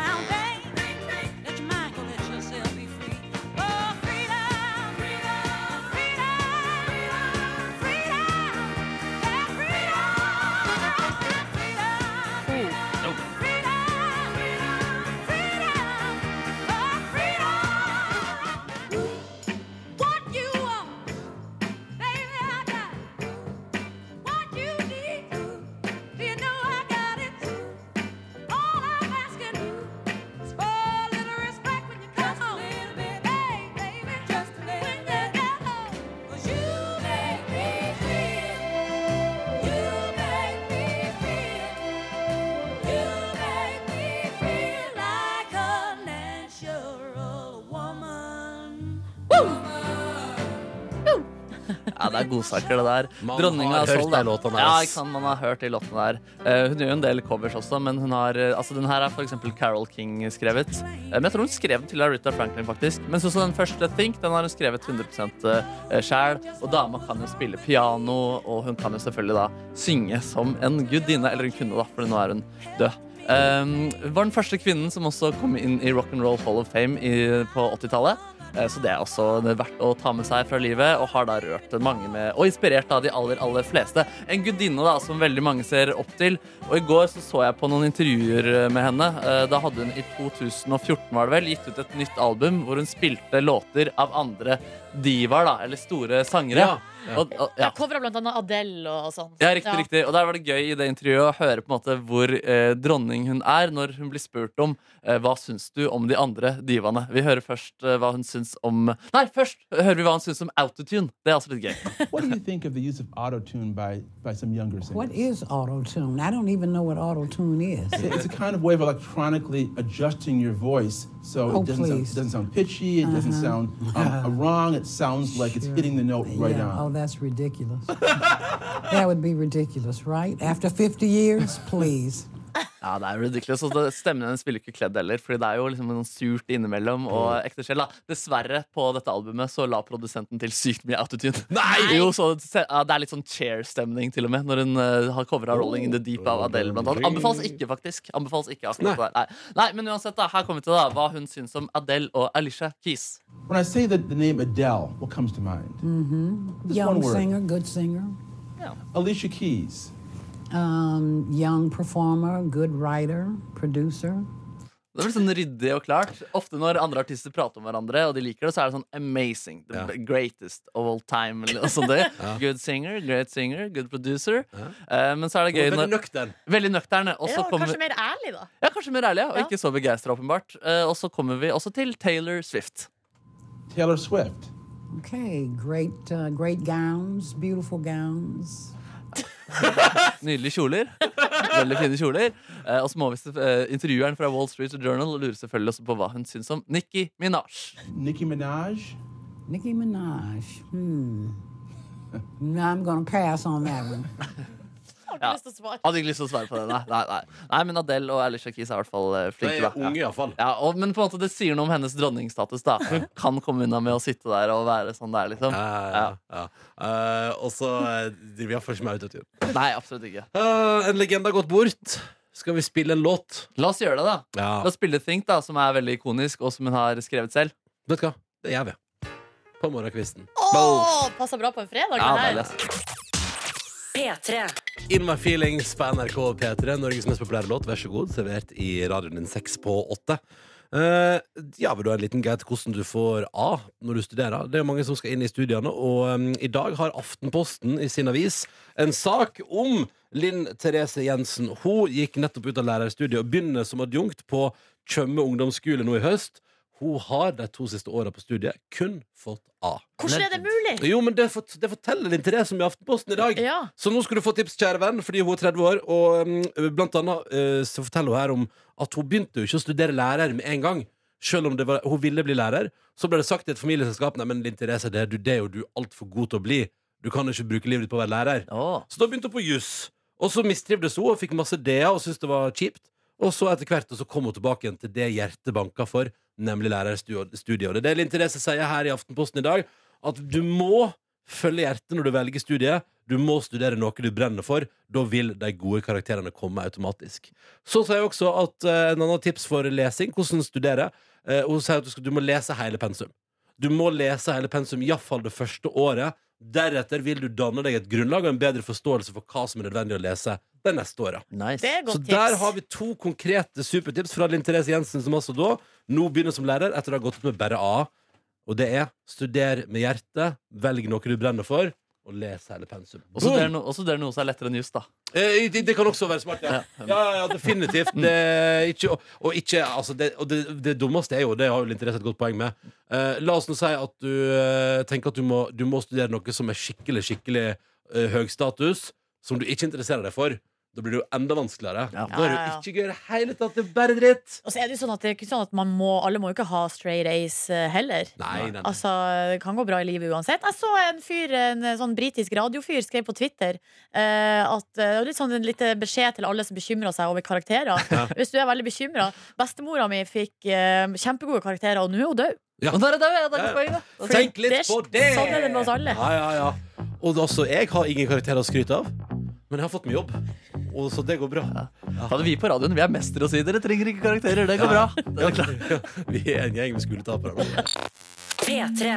Speaker 6: Ja, det er godsaker, det der.
Speaker 4: Man
Speaker 6: Dronninga
Speaker 4: har
Speaker 6: av Soul,
Speaker 4: hørt
Speaker 6: da.
Speaker 4: de låtene der,
Speaker 6: Ja,
Speaker 4: ass.
Speaker 6: ikke sant, man har hørt de låtene der. Eh, hun gjør jo en del covers også, men hun har, eh, altså, den her er for eksempel Carol King skrevet. Eh, men jeg tror hun skrev den til Aretha Franklin, faktisk. Men så, så den første Think, den har hun skrevet 100 uh, sjæl. Og dama kan jo spille piano, og hun kan jo selvfølgelig da synge som en gudinne. Eller hun kunne, da, for nå er hun død. Eh, var den første kvinnen som også kom inn i Rock and Roll Hall of Fame i, på 80-tallet. Eh, Så det er også verdt å ta med seg fra livet, og har da rørt mange med, og inspirert av de aller, aller fleste. En gudinne da, som veldig mange ser opp til. Og i går så, så jeg på noen intervjuer eh, med henne. Eh, Da hadde hun i 2014 var det vel, gitt ut et nytt album hvor hun spilte låter av andre divaer, da, eller store sangere.
Speaker 4: Ja, ja.
Speaker 6: Og, og,
Speaker 5: Jeg covra blant annet Adele og sånn.
Speaker 6: ja, riktig, riktig. Og der var det gøy i det intervjuet å høre på en måte hvor eh, dronning hun er når hun blir spurt om eh, hva syns du om de andre divaene. Vi hører først eh, hva hun syns om Nei, først hører vi hva hun syns om autotune. Det er altså litt gøy.
Speaker 11: What do you think of the use of autotune by, by some younger singers?
Speaker 10: What is auto tune? I don't even know what auto tune is.
Speaker 11: It- It's a kind of way of electronically adjusting your voice so
Speaker 10: Oh,
Speaker 11: it doesn't sound,
Speaker 10: please. Uh-huh.
Speaker 11: doesn't sound pitchy, it doesn't sound um, wrong, it sounds like it's hitting the note right
Speaker 10: yeah. Oh,
Speaker 11: on.
Speaker 10: that's ridiculous. that would be ridiculous, right? After 50 years, please.
Speaker 6: Ja, det er ridiculous. Og det- stemmen hennes ville ikke kledd heller, Fordi det er jo liksom noe surt innimellom. Og ekte sjel, da. Dessverre, på dette albumet så la produsenten til sykt mye autotune. Nei! Jo, så se- ja, Det er litt sånn chair-stemning, til og med, når hun eh, har covra 'Rolling in the Deep' av Adele, blant annet. Anbefales ikke, faktisk. Anbefales ikke akkurat det. Nei. Nei, men uansett, da, her kommer vi til da, hva hun syns om Adele og Alicia Keys.
Speaker 11: When I say the, the name Adele, what comes to mind?
Speaker 10: Mm-hmm.
Speaker 11: Just one
Speaker 10: Young
Speaker 11: word.
Speaker 10: singer, good singer,
Speaker 11: Alicia Keys.
Speaker 10: um, young performer, good writer, producer.
Speaker 6: Det er vel sånn ryddig og klart. Ofte når andre artister prater om hverandre, og de liker det, så er det sånn amazing. The greatest of all time. Eller noe
Speaker 4: [laughs]
Speaker 6: sånt. det.
Speaker 4: Ja.
Speaker 6: Good singer, great singer, good producer. Eh, men så er det gøy
Speaker 4: Veldig
Speaker 10: Oh,
Speaker 6: når-
Speaker 4: nøktern.
Speaker 6: Veldig nøkterne. Og så
Speaker 5: Ja,
Speaker 6: kommer
Speaker 5: Kanskje mer ærlig, da.
Speaker 6: Ja, kanskje mer ærlig, ja. og ikke så begeistra, åpenbart. Eh, og så kommer vi også til Taylor Swift.
Speaker 11: Taylor Swift.
Speaker 10: Okay, great, uh, great gowns, beautiful gowns.
Speaker 6: Nydelige
Speaker 5: [laughs]
Speaker 6: kjoler. Veldig fine kjoler. Eh, og så må vi se- eh, intervjueren fra Wall Street Journal lurer selvfølgelig også på hva hun syns om Nikki Minaj.
Speaker 11: Nicki Minaj.
Speaker 10: Nicki Minaj.
Speaker 11: [laughs]
Speaker 10: Hmm. No, I'm gonna pass on that one.
Speaker 6: Ja. Hadde ikke lyst til å svare på det, nei. nei, nei. nei men Adele og Alicia Keys er i hvert fall eh, flinke.
Speaker 4: De er
Speaker 6: da. Ja.
Speaker 4: unge, i hvert fall.
Speaker 6: Ja, og, men på en måte det sier noe om hennes dronningstatus. da Hun kan komme unna med å sitte der og være sånn der, liksom.
Speaker 4: Ja, ja. Eh, og så eh, driver jeg iallfall ikke med autotune.
Speaker 6: Nei, absolutt ikke.
Speaker 4: Eh, en legende har gått bort. Skal vi spille en låt?
Speaker 6: La oss gjøre det, da.
Speaker 4: Ja.
Speaker 6: La oss spille Think, da, som er veldig ikonisk, og som hun har skrevet selv.
Speaker 4: Vet du hva? Det gjør vi. På morgenkvisten.
Speaker 5: Åh, passer bra på en fredag.
Speaker 4: Ja,
Speaker 5: det her.
Speaker 4: deilig,
Speaker 2: P3.
Speaker 4: In My Feelings på NRK P3, Norges mest populære låt. Vær så god, servert i radioen din seks på åtte. Eh, ja, vil du ha en liten guide til hvordan du får A når du studerer? Det er jo mange som skal inn i studiene, og eh, i dag har Aftenposten i sin avis en sak om Linn Therese Jensen. Hun gikk nettopp ut av lærerstudiet og begynner som adjunkt på Tjøme ungdomsskole nå i høst. Hun har de to siste åra på studiet kun fått A.
Speaker 5: Hvordan er det mulig?
Speaker 4: Jo, men det, fort det forteller din Therese om i Aftenposten i dag.
Speaker 5: Ja.
Speaker 4: Så nå skal du få tips, kjære venn, fordi hun er 30 år. Og mm, blant annet eh, så forteller hun her om at hun begynte jo ikke å studere lærer med en gang. Selv om det var, hun ville bli lærer. Så ble det sagt i et familieselskap Nei, men Linn Therese, det er, du, det er jo du altfor god til å bli. Du kan jo ikke bruke livet ditt på å være lærer. Så da begynte hun på juss. Og så mistrivdes hun og fikk masse DA og syntes det var kjipt. Og så etter hvert og så kom hun tilbake igjen til det hjertet banka for, nemlig lærerstudiet. Og det er det Linn Therese sier her i Aftenposten i dag, at du må følge hjertet når du velger studiet. Du må studere noe du brenner for. Da vil de gode karakterene komme automatisk. Så sier jeg også at eh, en annen tips for lesing, hvordan studere eh, Hun sier at du, skal, du må lese hele pensum. Du må lese hele pensum, iallfall det første året. Deretter vil du danne deg et grunnlag og en bedre forståelse for hva som er nødvendig å lese de neste åra.
Speaker 6: Nice.
Speaker 5: Det er godt
Speaker 4: Så
Speaker 5: tips.
Speaker 4: der har vi to konkrete supertips fra Linn Therese Jensen, som altså da nå begynner som lærer etter å ha gått ut med bare A. Og det er studer med hjertet, velg noe du brenner for, og les hele pensum.
Speaker 6: Og så det, er
Speaker 4: Boom!
Speaker 6: no, og så det er noe som er lettere enn just, da.
Speaker 4: Eh, det, det kan også være smart, ja. Ja, ja, ja definitivt. Det, er ikke, og- og ikke, altså det, og det, det dummeste er jo, det har jo Linn Therese et godt poeng med eh, La oss nå si at du eh, tenker at du må, du må studere noe som er skikkelig, skikkelig eh, høy status, som du ikke interesserer deg for. Da blir det jo enda vanskeligere. Da er det jo ikke gøy i det hele tatt. Det er bare dritt.
Speaker 5: Og så er det jo sånn at det er ikke sånn at man må, alle må jo ikke ha straight ace eh, heller.
Speaker 4: Nei, nei, nei.
Speaker 5: Altså, Det kan gå bra i livet uansett. Jeg så en fyr, en sånn britisk radiofyr skrev på Twitter eh, at eh, det var litt sånn en lite beskjed til alle som bekymrer seg over
Speaker 4: [laughs]
Speaker 5: karakterer. Hvis du er veldig bekymra Bestemora mi fikk eh, kjempegode karakterer, og nå er hun død.
Speaker 4: Ja.
Speaker 6: Og der er det, ja, det er godt poeng, da.
Speaker 5: Fordi
Speaker 4: Tenk litt
Speaker 5: det er-
Speaker 4: på det!
Speaker 5: Sånn er det med oss alle.
Speaker 4: Ja, ja, ja. Og da- altså, jeg har ingen karakter å skryte av, men jeg har fått meg jobb. Og så det går bra.
Speaker 6: Da hadde vi på radioen. Vi er mestere og sier dere trenger ikke karakterer. Det går
Speaker 4: Ja.
Speaker 6: bra.
Speaker 4: [laughs]
Speaker 6: Det
Speaker 4: Ja,
Speaker 6: er klart.
Speaker 4: vi er en gjeng med skoletapere. nå.
Speaker 2: P3.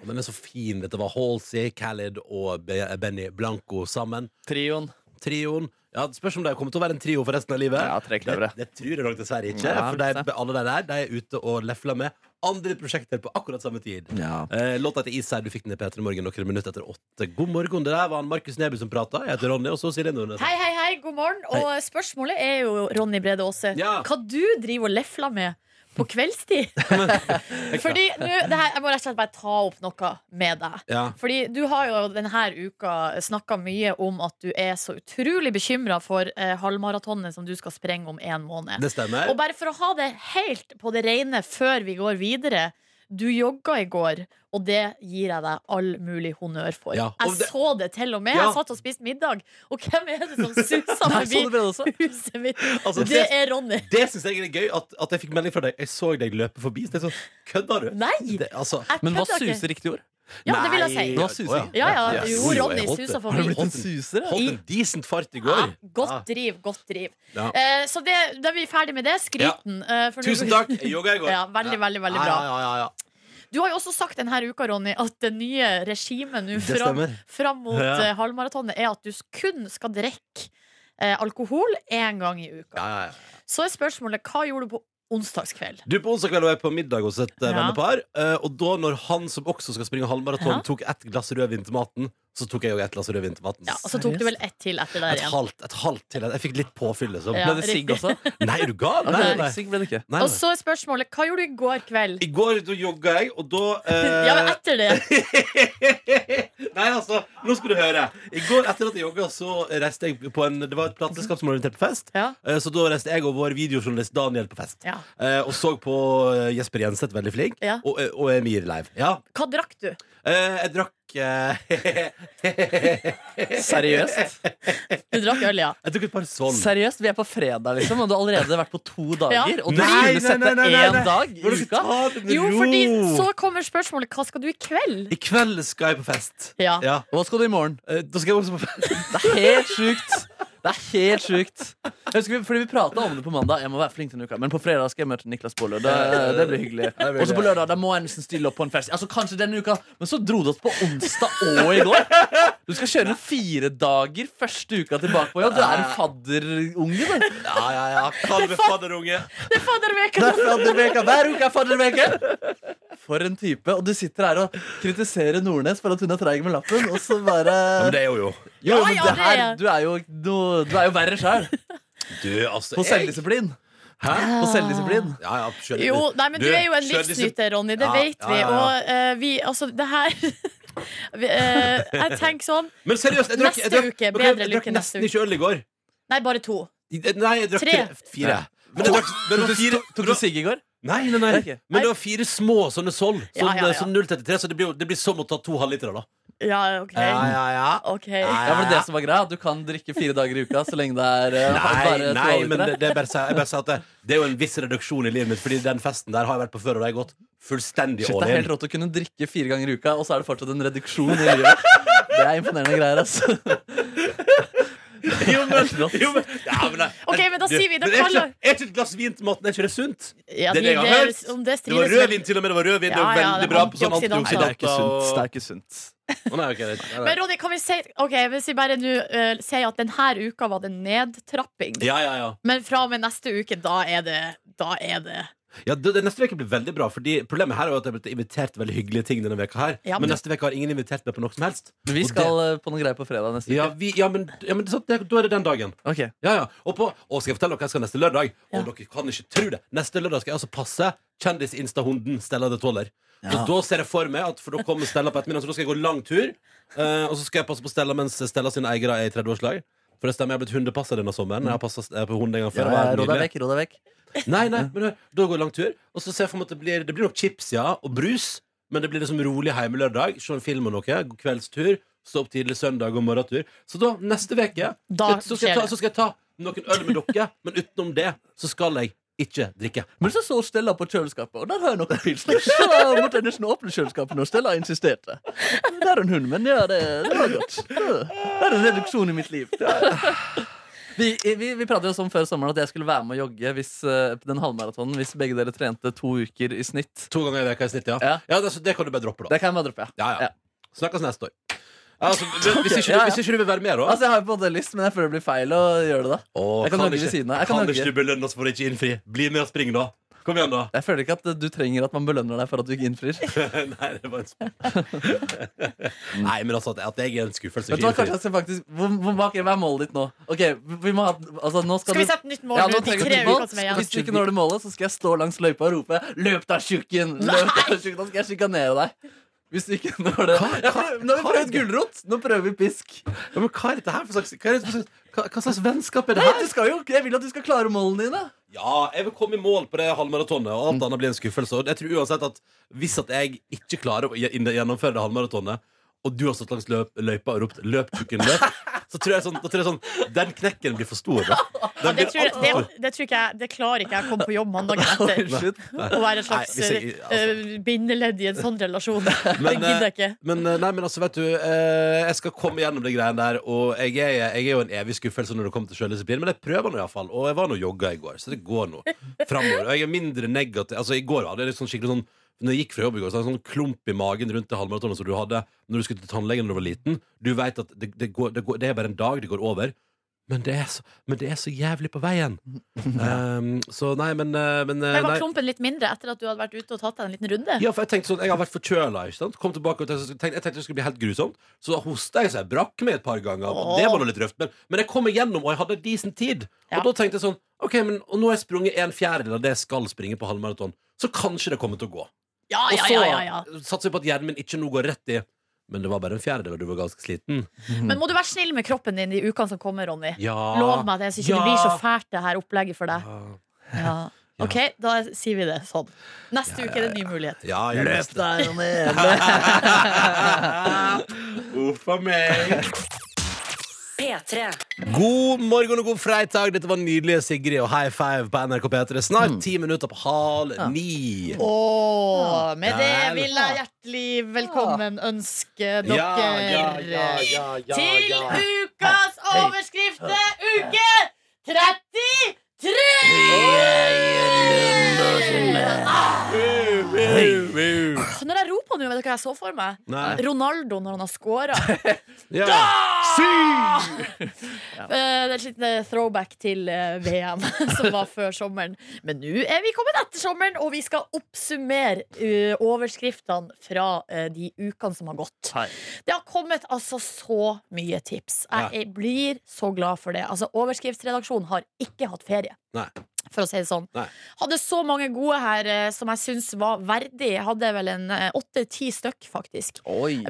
Speaker 4: Og Den er så fin. Dette var Halsey, Khaled og Be Benny Blanco sammen.
Speaker 6: Trioen.
Speaker 4: Trioen. Ja, det Spørs om de kommer til å være en trio for resten av livet.
Speaker 6: Ja, tre
Speaker 4: det,
Speaker 6: kløvere.
Speaker 4: det tror jeg nok dessverre ikke.
Speaker 6: Ja,
Speaker 4: for
Speaker 6: det er
Speaker 4: de, alle de der de er ute og lefler med andre prosjekter på akkurat samme tid.
Speaker 6: Ja.
Speaker 4: Eh, låta til Især, du fikk den i P3 Morgen noen minutter etter åtte. God morgen. Det der var han Markus Neby som prata. Jeg heter Ronny, og så Silje Nordnes.
Speaker 5: Hei, hei, hei, god morgen. Og spørsmålet er jo, Ronny Brede Aase,
Speaker 4: Ja.
Speaker 5: hva du driver og lefler med på kveldstid? [laughs] Fordi nå, det her, Jeg må rett og slett bare ta opp noe med deg.
Speaker 4: Ja.
Speaker 5: Fordi Du har jo denne uka snakka mye om at du er så utrolig bekymra for eh, halvmaratonet som du skal sprenge om en måned.
Speaker 4: Det stemmer.
Speaker 5: Og bare for å ha det helt på det rene før vi går videre Du jogga i går, og det gir jeg deg all mulig honnør for.
Speaker 4: Ja, og
Speaker 5: jeg
Speaker 4: det-
Speaker 5: så det til og med.
Speaker 4: Ja.
Speaker 5: Jeg satt og spiste middag, og hvem er det som suser
Speaker 4: [laughs] Nei,
Speaker 5: forbi
Speaker 4: så det
Speaker 5: huset mitt?
Speaker 4: Altså,
Speaker 5: det
Speaker 4: det-
Speaker 5: er Ronny.
Speaker 4: Det syns jeg er gøy, at, at jeg fikk melding fra deg. Jeg så deg løpe forbi. Så det er sånn, kødder du?
Speaker 5: Nei!
Speaker 4: Det, altså,
Speaker 5: Jeg Men hva kødder ikke. suser
Speaker 6: riktig ord?
Speaker 5: Ja, det vil jeg si.
Speaker 4: Nå suser jeg.
Speaker 5: Ja, ja,
Speaker 4: Yes.
Speaker 5: jo,
Speaker 4: Oi,
Speaker 5: Ronny
Speaker 4: jeg holdt
Speaker 5: suser
Speaker 4: det.
Speaker 5: forbi.
Speaker 4: Har du blitt en-
Speaker 5: Holdt en suser, ja?
Speaker 4: Holdt en decent fart i går.
Speaker 5: Godt driv, godt driv.
Speaker 4: Ja.
Speaker 5: Eh, så det, da er vi ferdig med det. Skryten. eh, for nå-
Speaker 4: Tusen
Speaker 5: [laughs]
Speaker 4: takk. Jeg jogga i går.
Speaker 5: Ja, veldig, veldig, veldig bra.
Speaker 4: Ja, ja, ja, ja.
Speaker 5: Du har jo også sagt denne uka, Ronny, at det nye regimet nå
Speaker 4: Det
Speaker 5: fram,
Speaker 4: stemmer.
Speaker 5: fram mot
Speaker 4: Ja.
Speaker 5: eh, halvmaratonet er at du kun skal drikke eh, alkohol én gang i uka.
Speaker 4: Ja, ja, ja.
Speaker 5: Så er spørsmålet hva gjorde du på onsdagskveld?
Speaker 4: Du På onsdag kveld var jeg på middag hos et eh,
Speaker 5: Ja.
Speaker 4: vennepar. eh, og da når han som også skal springe halvmaraton,
Speaker 5: Ja.
Speaker 4: tok ett glass rødvin til maten, så tok jeg òg ett glass rødvin til maten.
Speaker 5: Ja, og så tok du vel ett til etter der
Speaker 4: et
Speaker 5: igjen.
Speaker 4: halvt, et halvt til. Jeg fikk litt påfyll. Liksom.
Speaker 5: Ja, Ble det sigg riktig. [laughs]
Speaker 4: Nei, er du gal? Nei, nei, nei.
Speaker 6: Sigg ble det ikke.
Speaker 4: Nei,
Speaker 5: Og
Speaker 4: nei.
Speaker 5: så er spørsmålet hva gjorde du i går kveld?
Speaker 4: I går da jogga jeg, og da
Speaker 5: [laughs]
Speaker 4: eh,
Speaker 5: Ja, men etter det.
Speaker 4: [laughs] Nei, altså, nå skal du høre. I går etter at jeg jogga, så reiste jeg på en Det var et plateselskap som arrangerte fest. Eh, Så da reiste jeg og vår videojournalist Daniel på fest.
Speaker 5: Ja.
Speaker 4: Eh, Og så på eh, Jesper Jenseth, veldig flink,
Speaker 5: Ja.
Speaker 4: og, eh, og Emir live. Ja.
Speaker 5: Hva drakk du?
Speaker 4: Eh, [laughs] Jeg drakk eh,
Speaker 6: Seriøst?
Speaker 5: Du drakk øl, ja.
Speaker 4: Jeg tok et par sånn.
Speaker 6: Seriøst, vi er på fredag, liksom, og du har allerede vært på to dager. Og du
Speaker 4: Nei, nei,
Speaker 6: skulle sette
Speaker 4: nei, nei, nei, nei.
Speaker 6: én dag i
Speaker 4: Må dere
Speaker 6: uka.
Speaker 4: ta det med
Speaker 5: Jo,
Speaker 4: ro.
Speaker 5: fordi så kommer spørsmålet hva skal du i kveld?
Speaker 4: I kveld skal jeg på fest. Eh,
Speaker 5: Ja.
Speaker 6: Og hva skal du i morgen?
Speaker 4: Da skal jeg også på fest. [laughs]
Speaker 6: Det er helt sjukt. Det er helt sjukt. Jeg husker vi, fordi vi prata om det på mandag. Jeg må være flink til uka Men på fredag skal jeg møte Niklas Baarli. og Det, det blir
Speaker 4: [laughs]
Speaker 6: hyggelig.
Speaker 4: Ja, det blir
Speaker 6: Og så på
Speaker 4: hyggelig.
Speaker 6: lørdag da må jeg nesten stille opp på en fest. Altså kanskje denne uka Men så dro du oss på onsdag og i går. Du skal kjøre noen fire dager første uka tilbake på jobb. Du er en fadderunge, du.
Speaker 4: Ja, ja, ja. Kall meg fadderunge.
Speaker 5: Det er fadderveka!
Speaker 6: Det er fadderveka. Hver uke er fadderveke! For en type. Og du sitter her og kritiserer Nordnes for at hun er treig med lappen, og så bare
Speaker 4: Men det er jo jo.
Speaker 6: Jo,
Speaker 5: Ja,
Speaker 6: men
Speaker 5: ja,
Speaker 6: det
Speaker 5: det
Speaker 6: her,
Speaker 5: er-
Speaker 6: du er jo, du, du er jo verre sjøl.
Speaker 4: Du, altså,
Speaker 6: På
Speaker 4: jeg-
Speaker 6: selvdisiplin. På selvdisiplin.
Speaker 4: Ja, ja, kjør-
Speaker 5: Jo, nei, men du, er jo en
Speaker 4: kjør disse-
Speaker 5: livsnyter, Ronny. Det
Speaker 4: Ja,
Speaker 5: vet
Speaker 4: ja,
Speaker 5: vi.
Speaker 4: ja, ja.
Speaker 5: Og eh, vi Altså, det her [laughs] vi, eh, Jeg tenker sånn
Speaker 4: Men seriøst, jeg drakk, jeg
Speaker 5: Neste
Speaker 4: drakk,
Speaker 5: uke,
Speaker 4: men
Speaker 5: bedre lykke
Speaker 4: jeg drakk
Speaker 5: neste
Speaker 4: nesten
Speaker 5: uke.
Speaker 4: ikke øl i går.
Speaker 5: Nei, bare to.
Speaker 4: I- eh, Nei, jeg drakk
Speaker 5: Tre.
Speaker 4: tre. fire. Men jeg drakk, men det var fire
Speaker 6: Tok du sigg i går?
Speaker 4: Nei, nei, nei.
Speaker 6: Ok.
Speaker 4: Men det var fire små sånne Sol. Sånn,
Speaker 5: Ja, ja, ja.
Speaker 4: sånn 0,33, så det blir, jo- det blir som å ta to halvlitere, da. Eh,
Speaker 5: Ja, OK.
Speaker 4: Ja, ja, ja.
Speaker 5: Ok.
Speaker 6: Ja, for det er det som var greia. Du kan drikke fire dager i uka så lenge det er eh,
Speaker 4: Nei,
Speaker 6: bare
Speaker 4: nei, men
Speaker 6: men
Speaker 4: det, det er bare, å si- jeg bare sier at det, det er jo en viss reduksjon i livet mitt, Fordi den festen der har jeg vært på før, og det har jeg gått fullstendig
Speaker 6: Shit,
Speaker 4: all
Speaker 6: det er helt
Speaker 4: in.
Speaker 6: rått å kunne drikke fire ganger i uka, og så er det fortsatt en reduksjon i livet. Det er imponerende greier, altså.
Speaker 4: [laughs] Jo, men, jo, men, ja, men, det-
Speaker 5: Ok, men da sier vi- da
Speaker 4: Men er ikke,
Speaker 5: kaller-
Speaker 4: er ikke et glass vin til maten, er ikke det sunt?
Speaker 5: Ja,
Speaker 4: det er det jeg har
Speaker 5: vi-
Speaker 4: hørt.
Speaker 5: om det
Speaker 4: Det var
Speaker 5: strides vel-
Speaker 4: rødvin til og med, det var rødvin. det var
Speaker 5: Ja, ja,
Speaker 4: veldig
Speaker 5: det
Speaker 4: bra
Speaker 5: var
Speaker 4: på sånn
Speaker 5: antioksidanter.
Speaker 6: Nei, det er ikke
Speaker 4: antioksidanter.
Speaker 6: sunt.
Speaker 4: og-
Speaker 6: Det er ikke sunt.
Speaker 4: Å, nei, ok, det er ikke- nei,
Speaker 5: Men
Speaker 4: nei.
Speaker 5: Ronny, kan vi si Ok, hvis vi bare nå eh, sier at denne uka var det nedtrapping,
Speaker 4: Ja, ja, ja.
Speaker 5: men fra og med neste uke, da er det Da er det
Speaker 4: ja det, det, neste uke blir veldig bra, Fordi problemet her er jo at jeg har blitt invitert til veldig hyggelige ting denne veka her.
Speaker 5: Ja,
Speaker 4: men,
Speaker 5: men-
Speaker 4: neste uke har ingen invitert meg på noe som helst.
Speaker 6: Men vi
Speaker 4: Og
Speaker 6: skal eh, på noen greier på fredag
Speaker 4: det,
Speaker 6: neste
Speaker 4: ja,
Speaker 6: uke.
Speaker 4: vi, ja, men, ja, men det, er sant, det, da er det den dagen.
Speaker 6: Ok.
Speaker 4: Ja, ja. Og, på, og skal jeg fortelle dere hva jeg skal neste lørdag? Og dere kan ikke tro det. Neste lørdag skal jeg altså passe kjendis-instahunden Stella de Toller. Så da ser jeg for meg at For da kommer Stella på ettermiddagen, så da skal jeg gå lang tur. eh, og så skal jeg passe på Stella mens Stella sine eiere er i 30-årslag. For det stemmer, jeg har blitt hundepasser denne sommeren. Jeg har passet eh, på hund en gang
Speaker 6: Ja,
Speaker 4: før.
Speaker 6: ja,
Speaker 4: Det var
Speaker 6: Rå deg
Speaker 4: nydelig.
Speaker 6: vekk, rå deg vekk.
Speaker 4: Nei, nei, men hør, da går jeg lang tur Og så ser jeg for meg at det blir, det blir nok chips, ja Og brus, men det blir liksom rolig hjemme lørdag Se en film og noe, god kveldstur Stå opp tidlig søndag og morgentur Så da, neste veke
Speaker 5: Da
Speaker 4: så, skal jeg
Speaker 5: skjer
Speaker 4: ta,
Speaker 5: det.
Speaker 4: så skal jeg ta noen øl med dere [laughs] Men utenom det, så skal jeg ikke drikke
Speaker 6: Men så så Stella på kjøleskapet, og der har jeg noen pilsner. Så måtte jeg nesten åpne kjøleskapet når Stella insisterte. Det er en hund, men ja, det, det var godt. Det er en reduksjon i mitt liv. Vi, vi, vi pratet jo sånn før sommeren at jeg skulle være med å jogge hvis, eh, den halvmaratonen hvis begge dere trente to uker i snitt.
Speaker 4: To ganger i veka i snitt, ja
Speaker 6: Ja.
Speaker 4: Ja, det, så det kan du bare droppe da
Speaker 6: Det kan jeg bare droppe. ja.
Speaker 4: Ja, ja,
Speaker 6: Ja.
Speaker 4: Snakkes neste år altså,
Speaker 6: [laughs]
Speaker 4: men hvis, ikke,
Speaker 6: Ja,
Speaker 4: du-
Speaker 6: ja.
Speaker 4: hvis ikke du vil være med da
Speaker 6: Altså, Jeg har jo på en måte lyst, men jeg føler det blir feil å gjøre det da.
Speaker 4: Åh,
Speaker 6: jeg kan jogge ved siden av. Jeg kan
Speaker 4: Kan
Speaker 6: jogge.
Speaker 4: ikke du belønne oss for å ikke innfri Bli med og spring da Kom igjen da
Speaker 6: Jeg føler ikke at eh, du trenger at man belønner deg for at du ikke innfrir.
Speaker 4: [laughs] Nei, det var en spøk [laughs] Nei, men altså, at, at jeg er en skuffelse
Speaker 6: Vet du hva, kanskje jeg skal faktisk hvor, hvor, ok, Hva er målet ditt nå? Ok, vi- vi må ha altså, nå skal
Speaker 5: Skal vi
Speaker 6: du-
Speaker 5: sette nytt mål
Speaker 6: Ja,
Speaker 5: nå
Speaker 6: nå
Speaker 5: de
Speaker 6: trenger du
Speaker 5: tre
Speaker 6: et mål.
Speaker 5: ukene som er igjen?
Speaker 6: Hvis du ikke når det målet, så skal jeg stå langs løypa og rope 'løp da, tjukken'! Løp da, tjukken. Da skal jeg sjikanere deg. Hvis du ikke når det ja, for, Nå har vi prøvd gulrot! Nå prøver vi pisk.
Speaker 4: Ja, men hva er dette her for slags, hva er det for slags Hva, hva slags vennskap er det
Speaker 6: Nei,
Speaker 4: her?
Speaker 6: du skal jo, jeg vil at du skal klare målene dine.
Speaker 4: Ja, jeg vil komme i mål på det halvmaratonet, og alt annet blir en skuffelse. Og jeg tror uansett at Hvis at jeg ikke klarer å gje- gjennomføre det halvmaratonet, og du har stått langs løp, løypa og ropt 'løp, tjukken, [laughs] løp', så tror jeg sånn, da tror jeg sånn Den knekken blir for stor.
Speaker 5: Ja,
Speaker 4: Da. Den
Speaker 5: det,
Speaker 4: blir
Speaker 5: tror,
Speaker 4: alt for
Speaker 5: det,
Speaker 4: stor.
Speaker 5: det tror ikke jeg Det klarer ikke jeg å komme på jobb
Speaker 4: [laughs]
Speaker 5: mandagen etter.
Speaker 4: Nei.
Speaker 5: Å være et slags
Speaker 4: Nei, hvis jeg-
Speaker 5: eh, bindeledd i en sånn
Speaker 4: [laughs]
Speaker 5: relasjon. det gidder jeg ikke.
Speaker 4: eh, Men, eh, nei, men altså, vet du eh, Jeg skal komme gjennom det greiene der Og jeg er, jeg er jo en evig skuffelse når det kommer til selvdisiplin Men jeg prøver nå i hvert fall Og jeg var nå jogga i går, så det går nå fremover Og jeg er mindre negativ Altså, i går hadde jeg litt sånn skikkelig sånn når jeg gikk fra jobb i går, så hadde jeg sånn klump i magen rundt det halvmaratonet som du hadde når du skulle til tannlegen når du var liten. Du vet at det, det, går, det, går, det er bare en dag, det går over. Men det er så, men det er så jævlig på veien. Um, så nei, men, eh, men eh,
Speaker 5: Men var
Speaker 4: nei.
Speaker 5: klumpen litt mindre etter at du hadde vært ute og tatt deg en liten runde?
Speaker 4: Ja, for jeg tenkte sånn, jeg har vært forkjøla. ikke sant? Kom tilbake og tenkte, tenkte- jeg tenkte det skulle bli helt grusomt. Så hosta jeg så jeg brakk meg et par ganger.
Speaker 5: Åh.
Speaker 4: Det var nå litt røft, men, men jeg kom igjennom, og jeg hadde decent tid. Og da tenkte jeg sånn OK, men og nå har jeg sprunget en fjerdedel av det jeg skal springe på halvmaraton, så kanskje det kommer til å gå.
Speaker 5: Ja, ja,
Speaker 4: og så
Speaker 5: ja, ja, ja.
Speaker 4: satser jeg på at hjernen min ikke nå går rett i Men det var bare en fjerdedel, og du var ganske sliten.
Speaker 5: Men må du være snill med kroppen din de ukene som kommer, Ronny.
Speaker 4: Mm. Ja.
Speaker 5: Lov meg det, så ikke
Speaker 4: Ja.
Speaker 5: det blir så fælt, det her opplegget for deg.
Speaker 4: [laughs]
Speaker 5: Ja. OK, da sier vi det sånn. Neste uke er det en ny mulighet.
Speaker 4: Ja, jeg
Speaker 6: Løp
Speaker 4: leste.
Speaker 6: deg,
Speaker 4: [laughs] Uff a meg.
Speaker 2: P3.
Speaker 4: God morgen og god freitag. Dette var nydelige Sigrid og high five på NRK P3.
Speaker 5: Mm.
Speaker 4: Snart ti minutter på halv ni.
Speaker 5: Og med det
Speaker 4: Vel.
Speaker 5: vil jeg hjertelig velkommen ønske dere til ukas overskrifte uke 33! Ah, Når jeg roper nå, vet dere hva jeg så for meg?
Speaker 4: Nei.
Speaker 5: Ronaldo når han har scora.
Speaker 4: Ja.
Speaker 5: Eh, Det er et lite throwback til eh, VM [laughs] som var før sommeren. Men nå er vi kommet etter sommeren, og vi skal oppsummere eh, overskriftene fra eh, de ukene som har gått. Det har kommet altså så mye tips. Jeg
Speaker 12: Ja.
Speaker 5: er- blir så glad for det. Altså, overskriftsredaksjonen har ikke hatt ferie.
Speaker 4: Nei.
Speaker 5: For å si det sånn.
Speaker 4: Nei.
Speaker 5: Hadde så mange gode her eh, som jeg syns var verdig. Jeg hadde vel en eh, åtte-ti stykk, faktisk.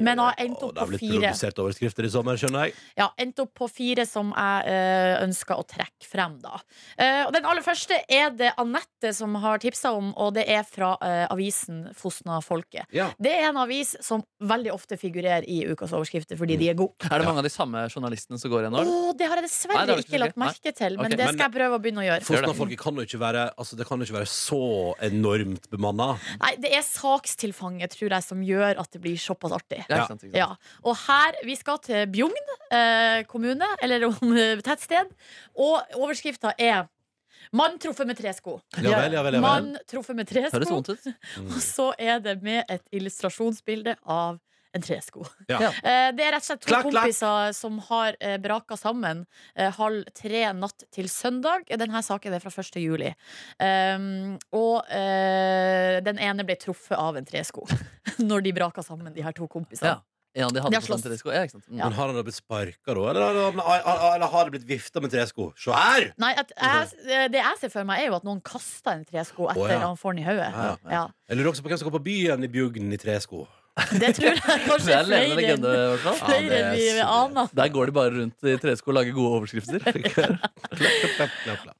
Speaker 5: Men har endt
Speaker 4: Og
Speaker 5: opp
Speaker 4: det har
Speaker 5: på
Speaker 4: blitt
Speaker 5: fire.
Speaker 4: produsert overskrifter i sommer, skjønner jeg.
Speaker 5: Ja, endte opp på fire som jeg eh, ønsker å trekke frem, da. Eh, og den aller første er det Anette som har tipsa om, og det er fra eh, avisen Fosna Folket.
Speaker 6: Ja.
Speaker 5: Det er en avis som veldig ofte figurerer i ukas overskrifter
Speaker 6: Mm.
Speaker 5: fordi de er gode.
Speaker 6: Er det mange av de samme journalistene som går igjen
Speaker 5: Å,
Speaker 6: nå? eller?
Speaker 5: det har jeg
Speaker 6: Nei, det
Speaker 5: dessverre
Speaker 6: har du ikke
Speaker 5: ikke lagt
Speaker 6: sikkert.
Speaker 5: merke til, men
Speaker 6: Ok,
Speaker 5: det
Speaker 4: men-
Speaker 5: skal jeg prøve å begynne å gjøre.
Speaker 4: Fosna-folket kan jo ikke være Altså, det kan jo ikke være så enormt bemanna.
Speaker 5: Nei, det er sakstilfanget, tror jeg, som gjør at det blir såpass artig.
Speaker 4: Ja, ikke sant, ikke sant.
Speaker 5: Ja. Og her, vi skal til Bjugn eh, kommune, eller om [laughs] eh, tettsted, og overskrifta er Mann truffet med tresko.
Speaker 6: Ja vel, ja vel, ja vel.
Speaker 5: Mann truffet med tresko.
Speaker 6: Høres vondt ut.
Speaker 5: Og så er det med et illustrasjonsbilde av en tresko.
Speaker 6: Ja.
Speaker 5: Eh, Det er rett og slett to
Speaker 6: Klakk, klakk.
Speaker 5: kompiser som har eh, braka sammen eh, halv tre natt til søndag. Denne saken er fra 1. juli. Um, og eh, den ene ble truffet av en tresko [laughs] når de braka sammen, de her to kompisene.
Speaker 6: Ja. En av de hadde
Speaker 5: De har
Speaker 6: på sånn
Speaker 5: slåss.
Speaker 6: tresko. Ja, ikke sant? Mm.
Speaker 5: Ja.
Speaker 4: Men har han da blitt sparka, da? Eller, har han- eller, eller har det blitt vifta med tresko? Se her!
Speaker 5: Nei, at jeg, det jeg ser for meg, er jo at noen kaster en tresko etter
Speaker 4: Å,
Speaker 5: at
Speaker 4: ja.
Speaker 5: han får den i hodet.
Speaker 4: Ja, ja.
Speaker 5: Ja.
Speaker 4: Jeg lurer også på hvem som går på byen i Bjugn i tresko.
Speaker 5: Det tror jeg kanskje
Speaker 6: Det
Speaker 5: er
Speaker 6: er en levende
Speaker 5: flere
Speaker 6: legende, i hvert fall.
Speaker 5: enn- flere enn vi aner.
Speaker 6: Der går de bare rundt i tresko og lager gode
Speaker 5: [laughs]
Speaker 6: overskrifter.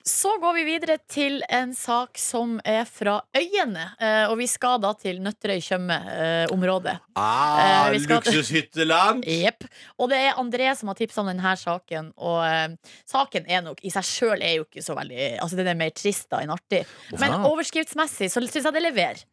Speaker 5: Så går vi videre til en sak som er fra Øyene. eh, Og vi skal da til Nøtterøy-Tjøme-området.
Speaker 4: Ah,
Speaker 5: Eh, vi skal-
Speaker 4: luksushytteland!
Speaker 5: Jepp. Og det er André som har tipsa om denne saken. Og eh, saken er nok i seg sjøl er jo ikke så veldig Altså den er mer trist da enn artig. Men
Speaker 12: Wow.
Speaker 5: overskriftsmessig så syns jeg det leverer.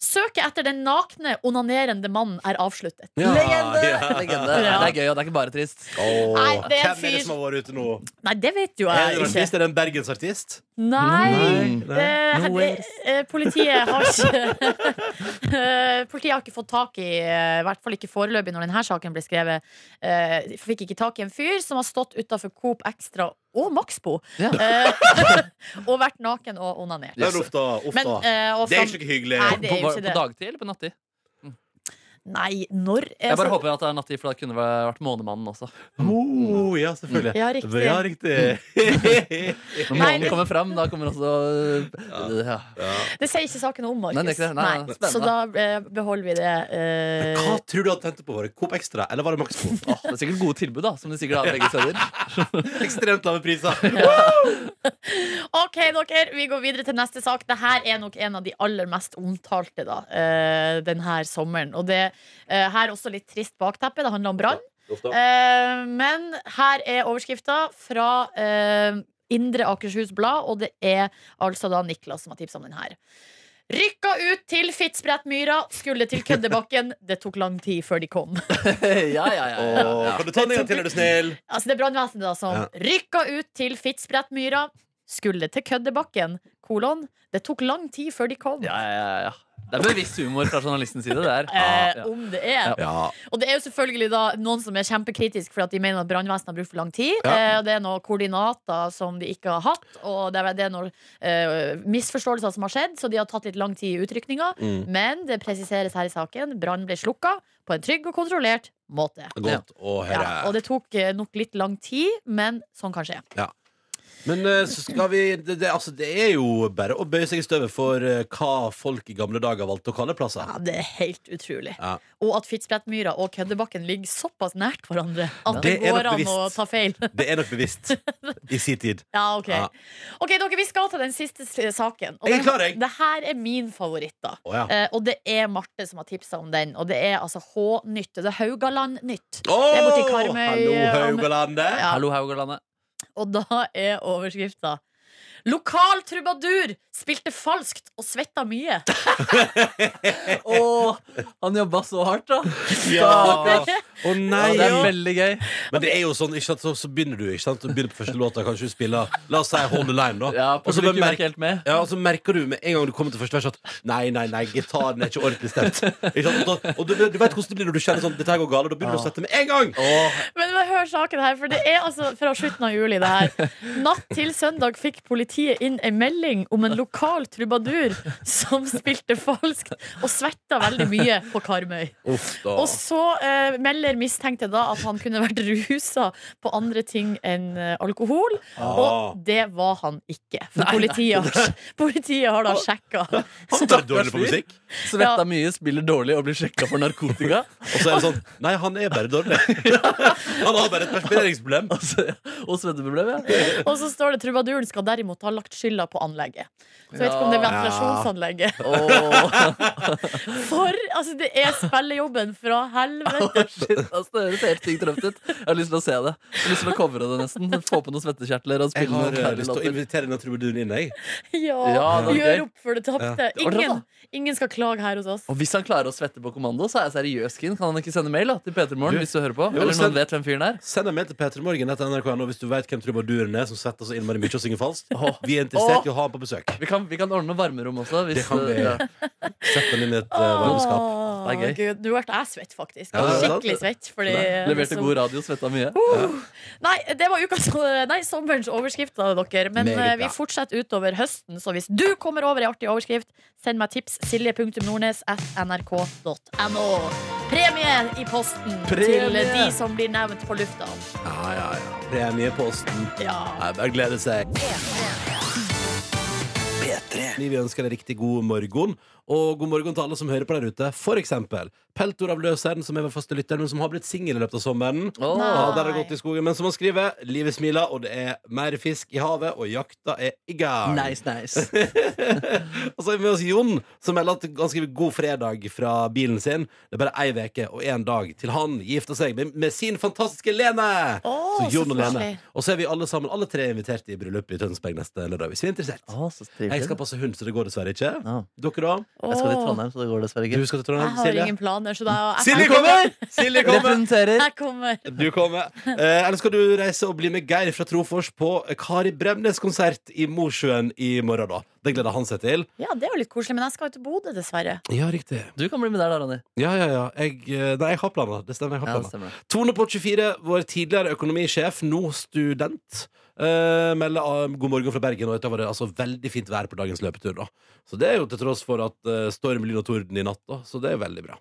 Speaker 5: Søket etter den nakne, onanerende mannen er avsluttet.
Speaker 4: ja.
Speaker 6: Ja, Legende.
Speaker 5: Ja.
Speaker 6: Det er gøy, og det er ikke bare trist.
Speaker 5: Nei, det er en
Speaker 4: Hvem er det
Speaker 5: fyr-
Speaker 4: som har vært ute nå?
Speaker 5: Nei, det vet jo
Speaker 4: Er det
Speaker 5: jeg
Speaker 4: en
Speaker 5: ikke.
Speaker 4: artist? Er det en bergensartist?
Speaker 5: Nei!
Speaker 4: Nei.
Speaker 5: Eh,
Speaker 4: Nowhere.
Speaker 5: eh, politiet har ikke [laughs] Eh, Politiet har ikke fått tak i, eh, i hvert fall ikke foreløpig når denne saken ble skrevet, eh, de fikk ikke tak i en fyr som har stått utafor Coop Extra og Maxbo eh, [laughs] og vært naken og onanert.
Speaker 4: Yes. Uff da, uff
Speaker 5: Men,
Speaker 4: da.
Speaker 5: eh, og
Speaker 4: det er
Speaker 5: fram-
Speaker 4: ikke noe hyggelig.
Speaker 5: Nei, det er jo ikke det.
Speaker 6: På dagtid eller på nattid?
Speaker 5: Nei, når
Speaker 6: Jeg bare håper at det er Natti, for da kunne det vært Månemannen også.
Speaker 4: Oh, ja, selvfølgelig.
Speaker 5: Ja, Mm. riktig. Mm.
Speaker 4: Ja, riktig. [laughs]
Speaker 6: Når
Speaker 5: Nei,
Speaker 6: månen
Speaker 5: det-
Speaker 6: kommer fram, da kommer også eh, ja.
Speaker 5: Det sier ikke saken om, Markus.
Speaker 6: Nei, det er ikke det. Nei,
Speaker 5: Nei.
Speaker 6: spennende.
Speaker 5: Så da eh, beholder vi det. eh,
Speaker 4: Hva tror du han tente på? Var det Coop Extra, eller var det Max
Speaker 5: [laughs]
Speaker 4: Coop?
Speaker 6: Åh, det er sikkert gode tilbud, da, som de sikkert har begge
Speaker 4: [laughs]
Speaker 6: steder.
Speaker 4: Ekstremt lave priser.
Speaker 5: OK, dere, vi går videre til neste sak. Dette er nok en av de aller mest omtalte da, eh, denne sommeren. Og det eh, her også litt trist bakteppe. Det handler om brann. Eh, men her er overskrifta fra eh, Indre Akershus Blad, og det er altså da Niklas som har tipsa om den her. Rykka ut til Fitzbrettmyra, skulle til Køddebakken. Det tok lang tid før de kom.
Speaker 6: ja, ja, ja, ja.
Speaker 4: Åh, kan du ta den en gang til, er du snill?
Speaker 5: Altså Det er brannvesenet da som
Speaker 4: Ja.
Speaker 5: rykka ut til Fitzbrettmyra, skulle til Køddebakken. Kolon. Det tok lang tid før de kom.
Speaker 6: Ja, ja, ja, ja. Det er bevisst humor fra journalistens side. Det er.
Speaker 5: Eh,
Speaker 6: Ah, Ja.
Speaker 5: Om det er.
Speaker 4: Ja.
Speaker 5: Og det er jo selvfølgelig da noen som er kjempekritiske for at de mener at brannvesenet har brukt for lang tid.
Speaker 4: Ja.
Speaker 5: Eh, og det er noen koordinater som de ikke har hatt, og det er, det er noen eh, misforståelser som har skjedd, så de har tatt litt lang tid i utrykninga.
Speaker 4: Mm.
Speaker 5: Men det presiseres her i saken. Brannen ble slukka på en trygg og kontrollert måte.
Speaker 4: Godt å høre.
Speaker 5: Ja, og det tok eh, nok litt lang tid, men sånn kan skje.
Speaker 4: Men eh, så skal vi det, det, altså, det er jo bare å bøye seg i støvet for eh, hva folk i gamle dager valgte å kalle plasser.
Speaker 5: Ja, det er helt utrolig.
Speaker 4: Ja.
Speaker 5: Og at Fitzbrettmyra og Køddebakken ligger såpass nært hverandre at det,
Speaker 4: Det
Speaker 5: går
Speaker 4: er nok
Speaker 5: an å
Speaker 4: bevisst.
Speaker 5: ta feil. [laughs]
Speaker 4: Det er nok bevisst. I sin tid.
Speaker 5: Ja, ok.
Speaker 4: Ja.
Speaker 5: Ok, dere, Vi skal til den siste s- saken.
Speaker 4: Jeg er
Speaker 5: det-
Speaker 4: klar, jeg.
Speaker 5: Det her er min favoritt. da
Speaker 4: Å ja.
Speaker 5: [laughs] Eh, Og det er Marte som har tipsa om den. Og det er altså H-nytt. Det er Haugaland-nytt.
Speaker 4: Åh,
Speaker 5: det er borti Karmøy,
Speaker 4: Hallo,
Speaker 5: eh, om-
Speaker 4: Haugalandet.
Speaker 5: Ja.
Speaker 6: Hallo, Haugalandet.
Speaker 5: Og da er overskrifta Lokal trubadur spilte falskt og svetta mye.
Speaker 6: Åh, han jobba så hardt, da.
Speaker 5: [laughs]
Speaker 4: Ja. Å
Speaker 6: Ja,
Speaker 4: nei!
Speaker 6: det er veldig gøy.
Speaker 4: Men det er jo sånn, ikke sant, så, så begynner du, ikke sant? Du begynner på første låta, kanskje du spiller La oss si Hold the [laughs] Line, da.
Speaker 6: Ja,
Speaker 4: og, så bare
Speaker 6: Publikum er
Speaker 4: merker,
Speaker 6: ikke helt med.
Speaker 4: ja, og så merker du med en gang du kommer til første vers at Nei, nei, nei, gitaren er ikke ordentlig stemt. [laughs] Ikke sant? Og, da, og du, du vet hvordan det blir når du kjenner sånn Dette her går galt, og da begynner du å sette med en gang!
Speaker 5: Men bare hør saken her, for det er altså fra slutten av juli, det her. Natt til søndag fikk politiet inn ei melding om en lokal trubadur som spilte falskt og sverta veldig mye på Karmøy.
Speaker 4: Uff, da.
Speaker 5: Og så eh, melder mistenkte da at han kunne vært rusa på andre ting enn eh, alkohol.
Speaker 4: Ah.
Speaker 5: Og det var han ikke. For politiet, har, [laughs] politiet har da sjekka.
Speaker 4: Han er dårlig på musikk.
Speaker 5: Ja.
Speaker 6: Svetta mye, spiller dårlig og blir sjekka for narkotika.
Speaker 4: [laughs] Og så er det sånn Nei, han er bare dårlig. Han har bare et perspireringsproblem.
Speaker 6: Og så- Og svetteproblem, ja.
Speaker 5: Og så står det trubaduren skal derimot ha lagt skylda på anlegget. Så jeg vet ikke om det er ventilasjonsanlegget.
Speaker 6: Åh,
Speaker 5: For altså, det er spillejobben fra helvete.
Speaker 6: shit, ass, det høres helt sykt røft ut. Jeg har lyst til å se det. Jeg har lyst til å covre det nesten. Få på noen svettekjertler og
Speaker 4: Jeg
Speaker 6: spille
Speaker 4: har
Speaker 6: noen
Speaker 4: eh, lyst til å
Speaker 6: terrorlåter.
Speaker 4: invitere denne trubaduren inn, jeg.
Speaker 5: Ja,
Speaker 6: [laughs] Ja, det var gøy.
Speaker 5: Gjør opp for det tapte.
Speaker 6: var det
Speaker 5: Ingen, ingen skal klage her hos oss.
Speaker 6: Og hvis han klarer å svette på kommando, så er jeg seriøs, Kin. Kan han ikke sende mail da, til P3morgen
Speaker 4: Du-
Speaker 6: hvis du hører på?
Speaker 4: Jo,
Speaker 6: Eller
Speaker 4: send-
Speaker 6: noen vet hvem fyren er?
Speaker 4: Send en mail til Petremorgen etter NRK nå hvis du vet hvem trubaduren er som setter så innmari mye og synger falskt.
Speaker 6: Åh.
Speaker 4: Vi er interessert i å ha han på besøk.
Speaker 6: Vi kan, vi kan ordne varmerom også. Hvis, eh,
Speaker 4: Det kan vi.
Speaker 6: ja.
Speaker 4: Sett den inn i et eh, varmeskap.
Speaker 5: Åh,
Speaker 6: Det er gøy.
Speaker 5: Gud, nå ble jeg svett, faktisk.
Speaker 4: Ja, det er sant.
Speaker 5: Skikkelig svett. Fordi,
Speaker 6: Leverte
Speaker 5: så-
Speaker 6: god radio, svetta mye.
Speaker 5: Nei, det var ukas, [laughs] nei, sommerens overskrift, da, dere. Men
Speaker 4: Meget
Speaker 5: eh,
Speaker 4: bra.
Speaker 5: vi fortsetter utover høsten, så hvis du kommer over ei artig overskrift, send meg tips. Silje.nordnes at nrk.no. Premie i posten til
Speaker 6: Premie!
Speaker 5: de som blir nevnt på lufta.
Speaker 4: Ja, ja, ja. Premieposten.
Speaker 5: Ja.
Speaker 4: Jeg bare gleder seg. Vi ønsker deg riktig god morgen, og god morgen til alle som hører på der ute. For eksempel Peltor av Løseren, som er vår faste lytter, men som har blitt singel i løpet av sommeren.
Speaker 6: Åh.
Speaker 5: Nei.
Speaker 4: Ja, der har det gått i skogen, men som han skriver, livet smiler, og det er mer fisk i havet, og jakta er i gang.
Speaker 6: Nice, nice.
Speaker 4: [laughs] og så er vi med oss Jon, som melder at han skriver god fredag fra bilen sin. Det er bare ei veke og én dag til han gifter seg med, med sin fantastiske Lene.
Speaker 5: Åh,
Speaker 4: så
Speaker 5: så
Speaker 4: Jon og Lene.
Speaker 5: koselig.
Speaker 4: Og så er vi alle sammen, alle tre invitert i bryllup i Tønsberg neste lørdag, hvis vi er interessert.
Speaker 6: Å, så trivelig.
Speaker 4: Jeg skal passe hund, så det går dessverre ikke.
Speaker 6: Ja.
Speaker 4: Dere da?
Speaker 6: Jeg skal til Trondheim, så det går dessverre
Speaker 4: Du
Speaker 6: ikke.
Speaker 4: skal til
Speaker 5: Jeg
Speaker 4: Trondheim,
Speaker 5: har
Speaker 4: Silje?
Speaker 5: ingen planer, så da
Speaker 4: Silje kommer! Silje kommer!
Speaker 6: Representerer.
Speaker 5: Jeg kommer.
Speaker 4: Du kommer. Eh, eller skal du reise og bli med Geir fra Trofors på Kari Bremnes-konsert i Mosjøen i morgen, da? Det gleder han seg til.
Speaker 5: Ja, det er jo litt koselig, men jeg skal jo til Bodø, dessverre.
Speaker 4: Ja, riktig.
Speaker 6: Du kan bli med der, da, Ronny.
Speaker 4: Ja, ja, ja. Jeg, eh, nei, jeg har planer. Det stemmer. jeg har
Speaker 6: Ja, det
Speaker 4: planer
Speaker 6: stemmer.
Speaker 4: Tone på 24, vår tidligere økonomisjef, nå student. Eh, melder ah, god morgen fra Bergen, og dette var det altså veldig fint vær på dagens løpetur. da Så det er jo til tross for at eh, storm, lyn og torden i natt, da, så det er veldig bra.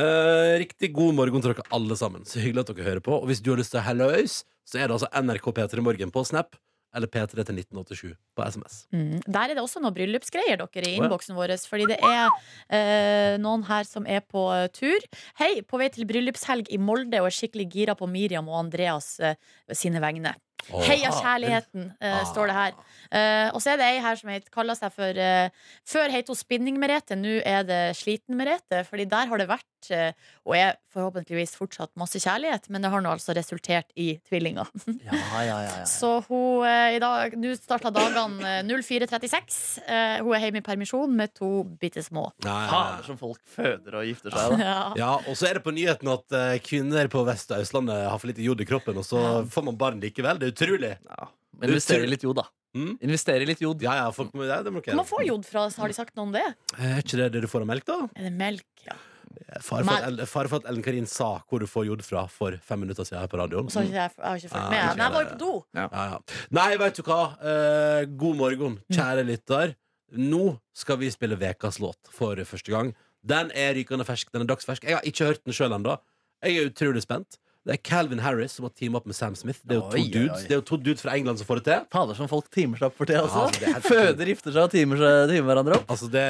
Speaker 4: Eh, riktig god morgen til dere alle sammen. Så hyggelig at dere hører på. Og hvis du har lyst til hallois, så er det altså NRK P3 Morgen på Snap eller P3 til 1987 på SMS.
Speaker 5: Mm. Der er det også noen bryllupsgreier dere i innboksen vår. Fordi det er eh, noen her som er på eh, tur. Hei, på vei til bryllupshelg i Molde og er skikkelig gira på Miriam og Andreas eh, sine vegne.
Speaker 12: Åh.
Speaker 5: Heia kjærligheten, eh, står det her. Eh, og så er det ei her som het, kaller seg for eh, Før het hun Spinning-Merete, nå er det Sliten-Merete. Fordi der har det vært, eh, og er forhåpentligvis fortsatt, masse kjærlighet. Men det har nå altså resultert i tvillinger.
Speaker 12: Ja, ja, ja, ja.
Speaker 5: Så hun eh, i dag Nå starta dagene eh, 04.36. Eh, hun er hjemme i permisjon med to bitte små.
Speaker 6: Faen, som folk føder og gifter seg, da.
Speaker 5: Ja.
Speaker 4: Ja, og så er det på nyheten at eh, kvinner på Vest- og Østlandet har for lite jod i kroppen, og så får man barn likevel. Det er utrolig.
Speaker 6: Men investere i litt jod, da.
Speaker 4: Investere litt jod. Ja, ja, folk må, ja, det må dere Eh,
Speaker 5: Man får jod fra Har de sagt noe om det?
Speaker 4: Er ikke det det du får av melk, da?
Speaker 5: Er det melk? Ja.
Speaker 4: Fare Eh, for, at
Speaker 5: Melk.
Speaker 4: El- fare for at Ellen Karin sa hvor du får jod fra for fem minutter siden her på radioen.
Speaker 5: Og så har ikke jeg, jeg har ikke fulgt
Speaker 4: Ja,
Speaker 5: med.
Speaker 4: ikke
Speaker 5: Men jeg var jo
Speaker 4: det.
Speaker 5: på do.
Speaker 4: Ah, Ja. Ja, Nei, veit du hva? Eh, god morgen, kjære lytter. Nå skal vi spille Vekas låt for første gang. Den er rykende fersk. Den er dagsfersk. Jeg har ikke hørt den sjøl ennå. Jeg er utrolig spent. Det er Calvin Harris som har teamet opp med Sam Smith. Det er jo
Speaker 6: Oi,
Speaker 4: to
Speaker 6: oi,
Speaker 4: dudes
Speaker 6: oi.
Speaker 4: Det er jo to dudes fra England som får det til.
Speaker 6: Fader, som folk timer seg opp for det,
Speaker 4: Ja, men det er
Speaker 6: altså.
Speaker 4: helt
Speaker 6: Føder, gifter seg og timer, seg, timer hverandre opp.
Speaker 4: Altså, det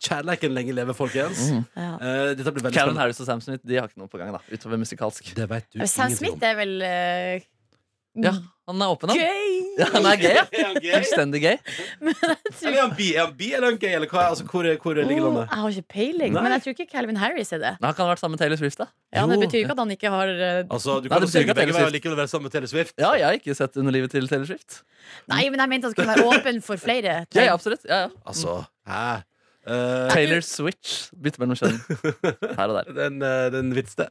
Speaker 4: Kjærleiken lenge leve, folkens.
Speaker 5: Ja.
Speaker 4: Eh, dette blir veldig
Speaker 6: Calvin
Speaker 4: spennende.
Speaker 6: Harris og Sam Smith de har ikke noe på gang, da utover musikalsk.
Speaker 4: Det vet
Speaker 5: Men Sam Smith er vel eh,
Speaker 6: Ja, han er åpen, han.
Speaker 5: Gay!
Speaker 6: Ja, han er gay,
Speaker 4: Er
Speaker 6: ja.
Speaker 4: han gay?
Speaker 6: Fullstendig gay.
Speaker 4: Eller er han bi, er han bi eller er han gay? Eller hva, altså, hvor, hvor ligger
Speaker 5: Oh,
Speaker 4: landet?
Speaker 5: jeg har ikke peiling,
Speaker 4: Nei.
Speaker 5: men jeg tror ikke Calvin Harris er det.
Speaker 6: Men han kan ha vært sammen med Taylor Swift, da.
Speaker 5: Ja, Det
Speaker 6: Jo.
Speaker 5: betyr ikke at han ikke har eh,
Speaker 4: Altså, du
Speaker 6: Nei,
Speaker 4: kan jo
Speaker 6: det betyr
Speaker 4: sikkert
Speaker 6: ikke at
Speaker 4: begge
Speaker 6: Taylor
Speaker 4: veier likevel være sammen med Taylor Swift.
Speaker 6: Ja, jeg har ikke sett underlivet til Taylor Swift.
Speaker 5: Nei, men jeg mente han skulle være åpen for flere.
Speaker 6: Ja, ja, absolutt. Ja, ja.
Speaker 4: Altså, hæ? Eh,
Speaker 6: Taylor Switch. Bytte mellom kjønn. Her og der.
Speaker 4: Den, eh, den vits det.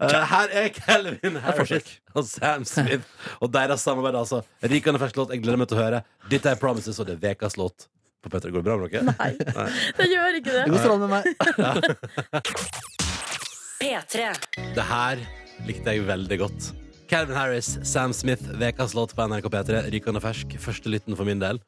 Speaker 4: Eh, her er Calvin Harris og Sam Smith og deres samarbeid. altså Rikende fersk låt. Jeg gleder meg til å høre. Dette er Promises, og det er ukas låt. På Petter, går det bra med dere? [laughs] Nei.
Speaker 5: Det gjør ikke det.
Speaker 4: Det går strålende
Speaker 6: med meg.
Speaker 2: P3.
Speaker 4: Det her likte jeg veldig godt. Calvin Harris, Sam Smith, ukas låt på NRK P3. Rikende fersk. Første lytten for min del.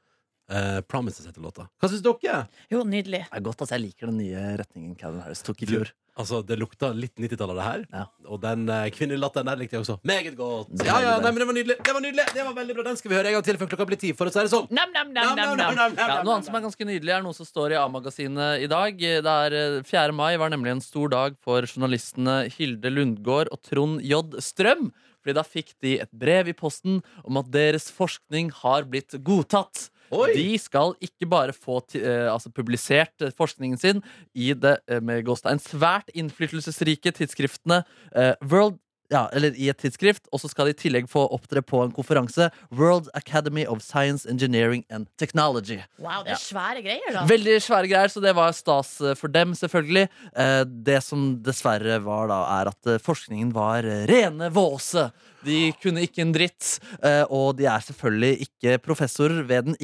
Speaker 4: Eh, Promises heter låta. Hva syns dere?
Speaker 5: Jo, nydelig.
Speaker 6: Det er godt at jeg liker den nye retningen Calvin Harris tok i
Speaker 4: Du,
Speaker 6: fjor.
Speaker 4: altså, det lukta litt 90-tall av det her. Og den eh, kvinnelatteren der likte jeg også. Meget godt.
Speaker 6: Det er
Speaker 4: Ja, ja,
Speaker 6: veldig
Speaker 4: nei, men det var nydelig. Det var nydelig, det var veldig bra Den skal vi høre en gang til før klokka blir ti. For å si det sånn.
Speaker 5: Nam, nam, nam,
Speaker 4: Nam,
Speaker 5: nam,
Speaker 4: nam, nam,
Speaker 5: nam.
Speaker 4: nam, nam,
Speaker 6: Ja,
Speaker 4: nam,
Speaker 6: noe annet som er ganske nydelig, er noe som står i A-magasinet i dag. Det er eh, 4. mai var nemlig en stor dag for journalistene Hilde Lundgaard og Trond J. Strøm. Fordi da fikk de et brev i posten om at deres forskning har blitt godtatt. De skal ikke bare få ti- eh, altså publisert eh, forskningen sin i det eh, med gåstein, svært innflytelsesrike tidsskriftene eh, World ja, eller i et tidsskrift, og så skal de i tillegg få opptre på en konferanse. World Academy of Science, Engineering and Technology.
Speaker 5: Wow, det er svære greier, da.
Speaker 6: Veldig svære greier, så det var stas eh, for dem, selvfølgelig. Eh, Det som dessverre var, da, er at eh, forskningen var eh, rene våse. De kunne ikke en dritt, eh, og de er selvfølgelig ikke professorer ved den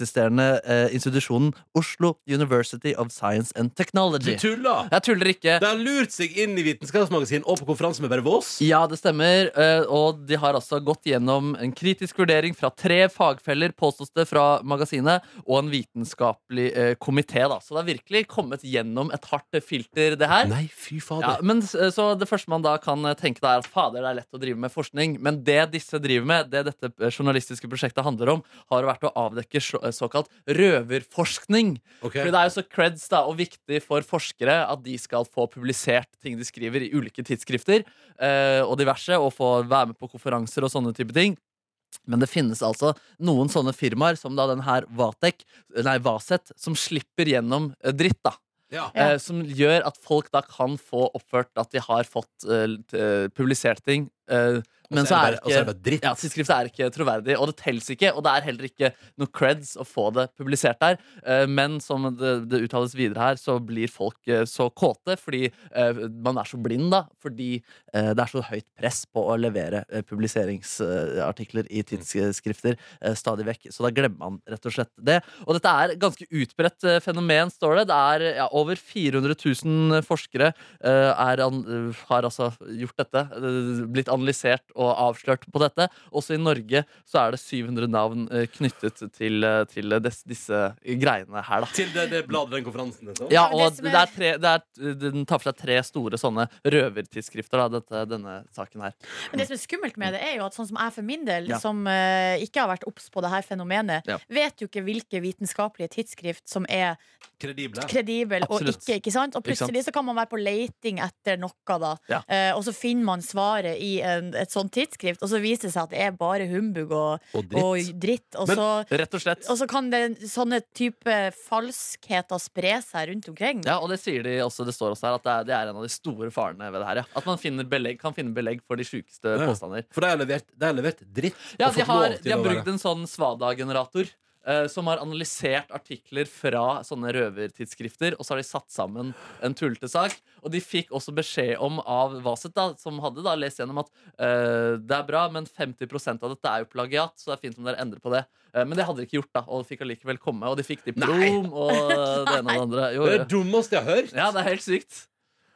Speaker 6: ikke-insisterende eh, institusjonen Oslo University of Science and Technology.
Speaker 4: Du tuller!
Speaker 6: Jeg tuller ikke.
Speaker 4: Det har lurt seg inn i Vitenskapsmagasin og på konferanse med bare Vås.
Speaker 6: Ja, det stemmer. eh, Og de har altså gått gjennom en kritisk vurdering fra tre fagfeller, påstås det, fra magasinet, og en vitenskapelig eh, komité, da. Så det har virkelig kommet gjennom et hardt filter, det her.
Speaker 4: Nei, fy
Speaker 6: Ja,
Speaker 4: fader.
Speaker 6: men s- eh, Så det første man da kan eh, tenke, da er at fader, det er lett å drive med forskning. Men det disse driver med, det dette eh, journalistiske prosjektet handler om, har vært å avdekke så- eh, såkalt røverforskning.
Speaker 4: Ok.
Speaker 6: Fordi det er jo så creds da, og viktig for forskere at de skal få publisert ting de skriver i ulike tidsskrifter eh, og diverse, og få være med på konferanser og sånne type ting. Men det finnes altså noen sånne firmaer som da den her Vatek, nei, Vaset, som slipper gjennom eh, dritt, da.
Speaker 4: Ja.
Speaker 6: Eh, som gjør at folk da kan få oppført at de har fått eh, t- eh, publisert ting. eh, men
Speaker 4: er
Speaker 6: så
Speaker 4: det
Speaker 6: er det
Speaker 4: bare- og så er det bare
Speaker 6: ikke
Speaker 4: dritt.
Speaker 6: ja, Tidsskriftet er ikke troverdig, og det telles ikke. Og det er heller ikke noe creds å få det publisert der. Eh, Men som det, det uttales videre her, så blir folk eh, så kåte fordi eh, man er så blind, da. Fordi eh, det er så høyt press på å levere eh, publiseringsartikler i tidsskrifter eh, stadig vekk. Så da glemmer man rett og slett det. Og dette er et ganske utbredt eh, fenomen, står det. Det er ja, over 400 000 forskere eh, er an, har altså gjort dette. eh, Blitt analysert og avslørt på dette. Også i Norge så er det 700 navn eh, knyttet til, eh, til dess, disse greiene her, da.
Speaker 4: Til det, det bladet den konferansen liksom. heter.
Speaker 6: Ja, og det er tre, det er, den tar for seg tre store sånne røvertidsskrifter, da, dette, denne saken her.
Speaker 5: Men det som er skummelt med det, er jo at sånn som jeg for min del,
Speaker 6: Ja.
Speaker 5: som eh, ikke har vært obs på det her fenomenet,
Speaker 6: Ja.
Speaker 5: vet jo ikke hvilke vitenskapelige tidsskrift som er
Speaker 4: Kredible.
Speaker 5: kredible og
Speaker 4: Absolutt.
Speaker 5: ikke. ikke sant? Og
Speaker 4: Ikke sant?
Speaker 5: plutselig så kan man være på leiting etter noe, da.
Speaker 4: Ja.
Speaker 5: Eh, og så finner man svaret i en, et sånt tidsskrift, og så viser det seg at det er bare humbug og,
Speaker 6: Og dritt.
Speaker 5: og
Speaker 6: Men,
Speaker 5: så,
Speaker 6: rett og slett.
Speaker 5: så kan det, sånne type falskheter spre seg rundt omkring.
Speaker 6: Ja, og det sier de også, det står også her, at det er, det er en av de store farene ved det her. Ja. At man finner belegg, kan finne belegg for de sjukeste
Speaker 4: Ja.
Speaker 6: påstander.
Speaker 4: For de har levert, de har levert dritt.
Speaker 6: Ja,
Speaker 4: og
Speaker 6: de
Speaker 4: fått
Speaker 6: har,
Speaker 4: lov til
Speaker 6: de har
Speaker 4: å
Speaker 6: brukt
Speaker 4: være.
Speaker 6: en sånn Svada-generator. eh, som har analysert artikler fra sånne røvertidsskrifter. Og så har de satt sammen en tullete sak. Og de fikk også beskjed om av Vaset, da, som hadde da lest gjennom at eh, det er bra, men 50 av dette er jo plagiat, så det er fint om dere endrer på det. Eh, men det hadde de ikke gjort, da, og fikk allikevel komme. Og de fikk diplom og det ene og det andre. Jo,
Speaker 4: Det er
Speaker 6: jo.
Speaker 4: det dummeste jeg har hørt.
Speaker 6: Ja, det er helt sykt.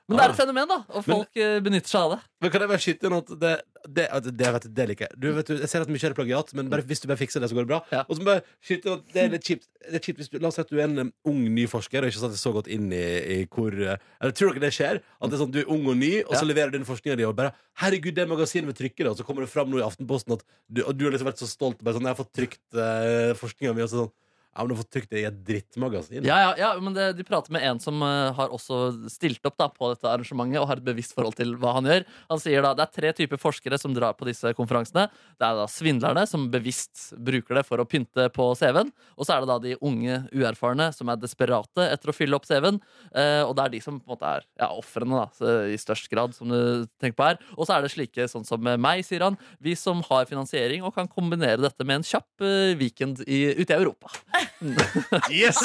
Speaker 6: Men det er et fenomen, da. Og folk eh, benytter seg av det.
Speaker 4: Men kan jeg bare skyte inn at det, det, at det, vet, du, det liker jeg. Du, vet, du, jeg ser at mye er plagiat, men bare, hvis du bare fikser det, så går det bra. Og så må jeg skyte inn at det er litt kjipt, det er kjipt hvis du, La oss si at du er en um, ung, ny forsker og ikke satt så godt inn i, i hvor eh, Eller tror dere det skjer? At det er sånn, du er ung og ny, og så leverer du inn forskninga di, og bare 'Herregud, det magasinet vil trykke det', og så kommer det fram nå i Aftenposten at du, og du har liksom vært så stolt bare sånn 'Jeg har fått trykt uh, forskninga mi', og så sånn ja, men du har fått trykt det i et drittmagasin.
Speaker 6: Ja, ja, ja, men det, De prater med en som eh, har også stilt opp da, på dette arrangementet og har et bevisst forhold til hva han gjør. Han sier da det er tre typer forskere som drar på disse konferansene. Det er da svindlerne, som bevisst bruker det for å pynte på CV-en. Og så er det da de unge uerfarne som er desperate etter å fylle opp CV-en. Eh, og det er de som på en måte er ja, ofrene da, så i størst grad, som du tenker på her. Og så er det slike sånn som meg, sier han, vi som har finansiering og kan kombinere dette med en kjapp eh, weekend i, ute i Europa.
Speaker 4: Yes!
Speaker 6: [laughs]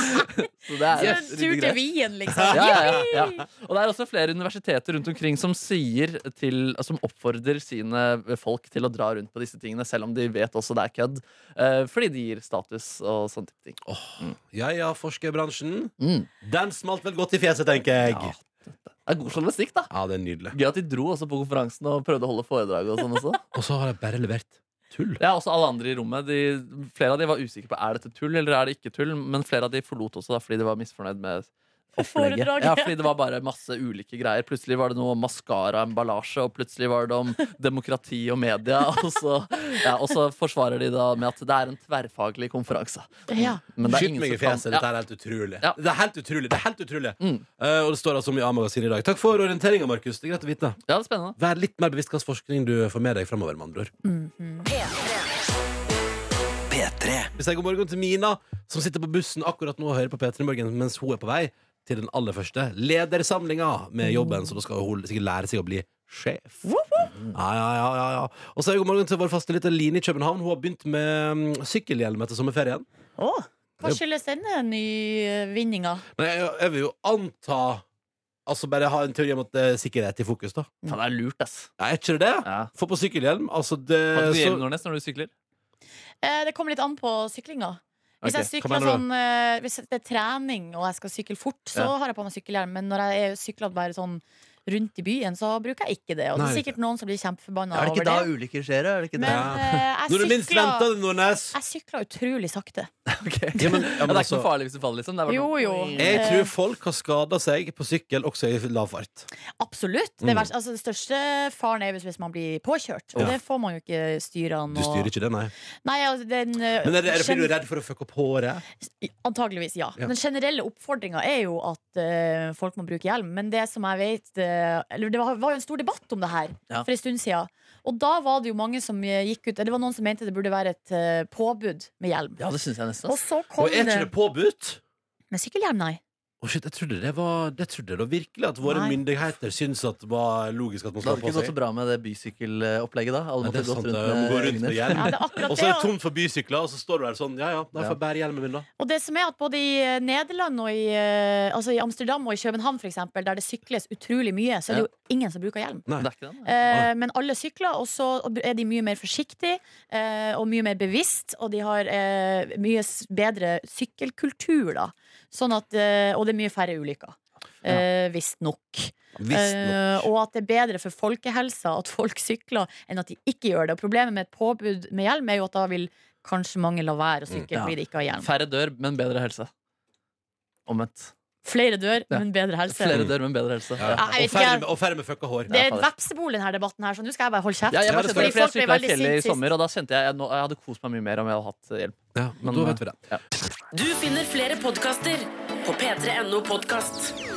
Speaker 6: Så det er
Speaker 5: Yes, tur til
Speaker 6: greit.
Speaker 5: Wien, liksom.
Speaker 6: [laughs] Ja, ja, ja, ja. Og det er også flere universiteter rundt omkring som, sier til, som oppfordrer sine folk til å dra rundt på disse tingene, selv om de vet også det er kødd. eh, Fordi det gir status og sånne type ting. Mm.
Speaker 4: Ja ja, forskerbransjen.
Speaker 6: Mm.
Speaker 4: Den smalt vel godt i fjeset, tenker jeg.
Speaker 6: Det er god journalistikk, da.
Speaker 4: Ja, det er nydelig.
Speaker 6: Gøy at de dro også på konferansen og prøvde å holde foredrag og sånn også.
Speaker 4: Og så har jeg bare levert tull.
Speaker 6: Ja, også alle andre i rommet. De, flere av de var usikre på er dette tull eller er det ikke tull, men flere av de forlot også da, fordi de var misfornøyd med opplegget.
Speaker 5: Foredraget.
Speaker 6: Ja, fordi det var bare masse ulike greier. Plutselig var det noe om maskaraemballasje, og plutselig var det om demokrati og media. [laughs] Og så, ja, og så forsvarer de da med at det er en tverrfaglig konferanse.
Speaker 5: Ja.
Speaker 6: Men det er
Speaker 4: Skyt
Speaker 6: ingen
Speaker 4: meg i
Speaker 6: som kan-
Speaker 4: fjeset.
Speaker 6: Ja. Mm.
Speaker 4: Dette er helt utrolig. Det er helt utrolig. det er helt utrolig Eh, Og det står altså om i A-magasinet i dag. Takk for orienteringa, Markus. Det er greit å vite.
Speaker 6: Ja, det er spennende
Speaker 4: Vær litt mer bevisst hva slags forskning du får med deg framover, med andre ord. Vi sier god morgen til Mina, som sitter på bussen akkurat nå og hører på P3 Morgen mens hun er på vei til den aller første ledersamlinga med jobben, så da skal hun sikkert lære seg å bli sjef. Mm. Ja, ja, ja, ja, ja. Og så er det god morgen til vår faste lille Line i København. Hun har begynt med mm, sykkelhjelm etter sommerferien.
Speaker 5: Hva skyldes denne nyvinninga?
Speaker 4: Men jeg, jeg vil jo anta Altså bare ha en teori om at det er sikkerhet i fokus, da.
Speaker 6: Ja, det er lurt, ass.
Speaker 4: Nei, er ikke det det? Få på sykkelhjelm. Altså det
Speaker 6: Har du
Speaker 4: så-
Speaker 6: hjelm, Nordnes, når du sykler?
Speaker 5: Eh, Det kommer litt an på syklinga. Hvis, jeg
Speaker 6: Ok, hva
Speaker 5: sykler
Speaker 6: mener du?
Speaker 5: sånn, eh, hvis det er trening og jeg skal sykle fort, så
Speaker 6: Ja.
Speaker 5: har jeg på meg sykkelhjelm. Men når jeg er- sykler bare sånn rundt i byen, så bruker jeg ikke det. Og det
Speaker 4: Nei,
Speaker 5: er sikkert noen som blir kjempeforbanna
Speaker 6: Er
Speaker 5: over
Speaker 6: det ikke
Speaker 5: det.
Speaker 6: da ulykker skjer? Er [laughs] det ikke
Speaker 5: Men eh,
Speaker 4: Når du
Speaker 5: jeg
Speaker 4: minst venter
Speaker 5: sykler
Speaker 4: det, Nordnes!
Speaker 5: jeg sykler utrolig sakte.
Speaker 4: Ja, men, ja,
Speaker 6: Ja,
Speaker 4: men
Speaker 6: det er ikke
Speaker 4: altså,
Speaker 6: noe farlig hvis du faller, liksom. Det er bare
Speaker 5: Jo,
Speaker 6: noe-
Speaker 5: jo.
Speaker 4: jeg
Speaker 5: Eh,
Speaker 4: tror folk har skada seg på sykkel også i lav fart.
Speaker 5: Absolutt. Det,
Speaker 4: Mm.
Speaker 5: verste, altså, det største faren er hvis- hvis man blir påkjørt. Og
Speaker 4: Ja.
Speaker 5: det får man jo ikke styre an.
Speaker 4: Du
Speaker 5: og-
Speaker 4: styrer ikke det, nei.
Speaker 5: Nei, altså, den, eh,
Speaker 4: Men er det, er det fordi du
Speaker 5: gen-
Speaker 4: er redd for å fucke opp håret?
Speaker 5: Antageligvis, ja.
Speaker 4: Ja.
Speaker 5: Den generelle oppfordringa er jo at eh, folk må bruke hjelm. Men det som jeg vet eh, Eller det var, var jo en stor debatt om det her
Speaker 6: Ja.
Speaker 5: for en stund sida. Og da var det jo mange som eh, gikk ut Det var noen som mente det burde være et eh, påbud med hjelm.
Speaker 6: Ja, det syns jeg nesten.
Speaker 5: Og
Speaker 6: ass.
Speaker 5: så kom
Speaker 4: Og er ikke det
Speaker 5: det
Speaker 4: påbudt?
Speaker 5: Med sykkelhjelm, nei.
Speaker 4: Å, shit, jeg trodde det var Det trodde jeg da virkelig at våre
Speaker 5: Nei.
Speaker 4: myndigheter syns at det var logisk at man
Speaker 6: Det
Speaker 4: skal ha på
Speaker 6: hadde ikke gått så
Speaker 4: seg.
Speaker 6: bra med det bysykkelopplegget, da. Alle
Speaker 4: Nei, det er
Speaker 6: måtte gått
Speaker 4: sant,
Speaker 6: rundt
Speaker 4: det. Man går rundt
Speaker 6: med
Speaker 4: med
Speaker 6: øynene.
Speaker 5: Ja,
Speaker 4: hjelm.
Speaker 5: det er
Speaker 4: [laughs]
Speaker 5: akkurat
Speaker 4: Og så er det
Speaker 5: det, og-
Speaker 4: tomt for bysykler, og så står du der sånn. Ja ja, da får jeg bære hjelmen min, da.
Speaker 5: Og det som er at både i eh, Nederland og i, eh, altså i Amsterdam og i København, for eksempel, der det sykles utrolig mye, så er det jo ingen som bruker hjelm.
Speaker 4: Nei.
Speaker 6: Det er ikke det, nei.
Speaker 5: Eh, men alle sykler, og så er de mye mer forsiktige eh, og mye mer bevisst. Og de har eh, mye s- bedre sykkelkultur, da. Sånn at, eh, og det er mye færre ulykker. eh, visstnok.
Speaker 12: Visstnok.
Speaker 5: Eh, og at det er bedre for folkehelsa at folk sykler enn at de ikke gjør det. Og problemet med et påbud med hjelm er jo at da vil kanskje mange la være å sykle fordi de ikke har hjelm.
Speaker 6: Mm, Færre dør, men bedre helse. Omvendt.
Speaker 5: Flere dør,
Speaker 6: Ja.
Speaker 5: men bedre helse.
Speaker 6: Flere dør, men bedre helse.
Speaker 5: Ja, jeg vet
Speaker 4: Og færre
Speaker 5: ikke.
Speaker 4: med, og færre med fucka hår.
Speaker 5: Det er et vepsebol i denne debatten, her så nå skal jeg bare holde kjeft.
Speaker 6: Ja, jeg, bare
Speaker 5: Fordi
Speaker 6: skjønner det, for jeg
Speaker 5: folk ble
Speaker 6: sykla i
Speaker 5: veldig
Speaker 6: fjellet
Speaker 5: sint
Speaker 6: i
Speaker 5: sist.
Speaker 6: sommer, og da kjente jeg, jeg, nå, jeg hadde kost meg mye mer om jeg hadde hatt hjelp.
Speaker 4: Ja,
Speaker 6: men,
Speaker 4: da vet vi det.
Speaker 6: Ja.
Speaker 2: Du finner flere podkaster på p3.no podkast.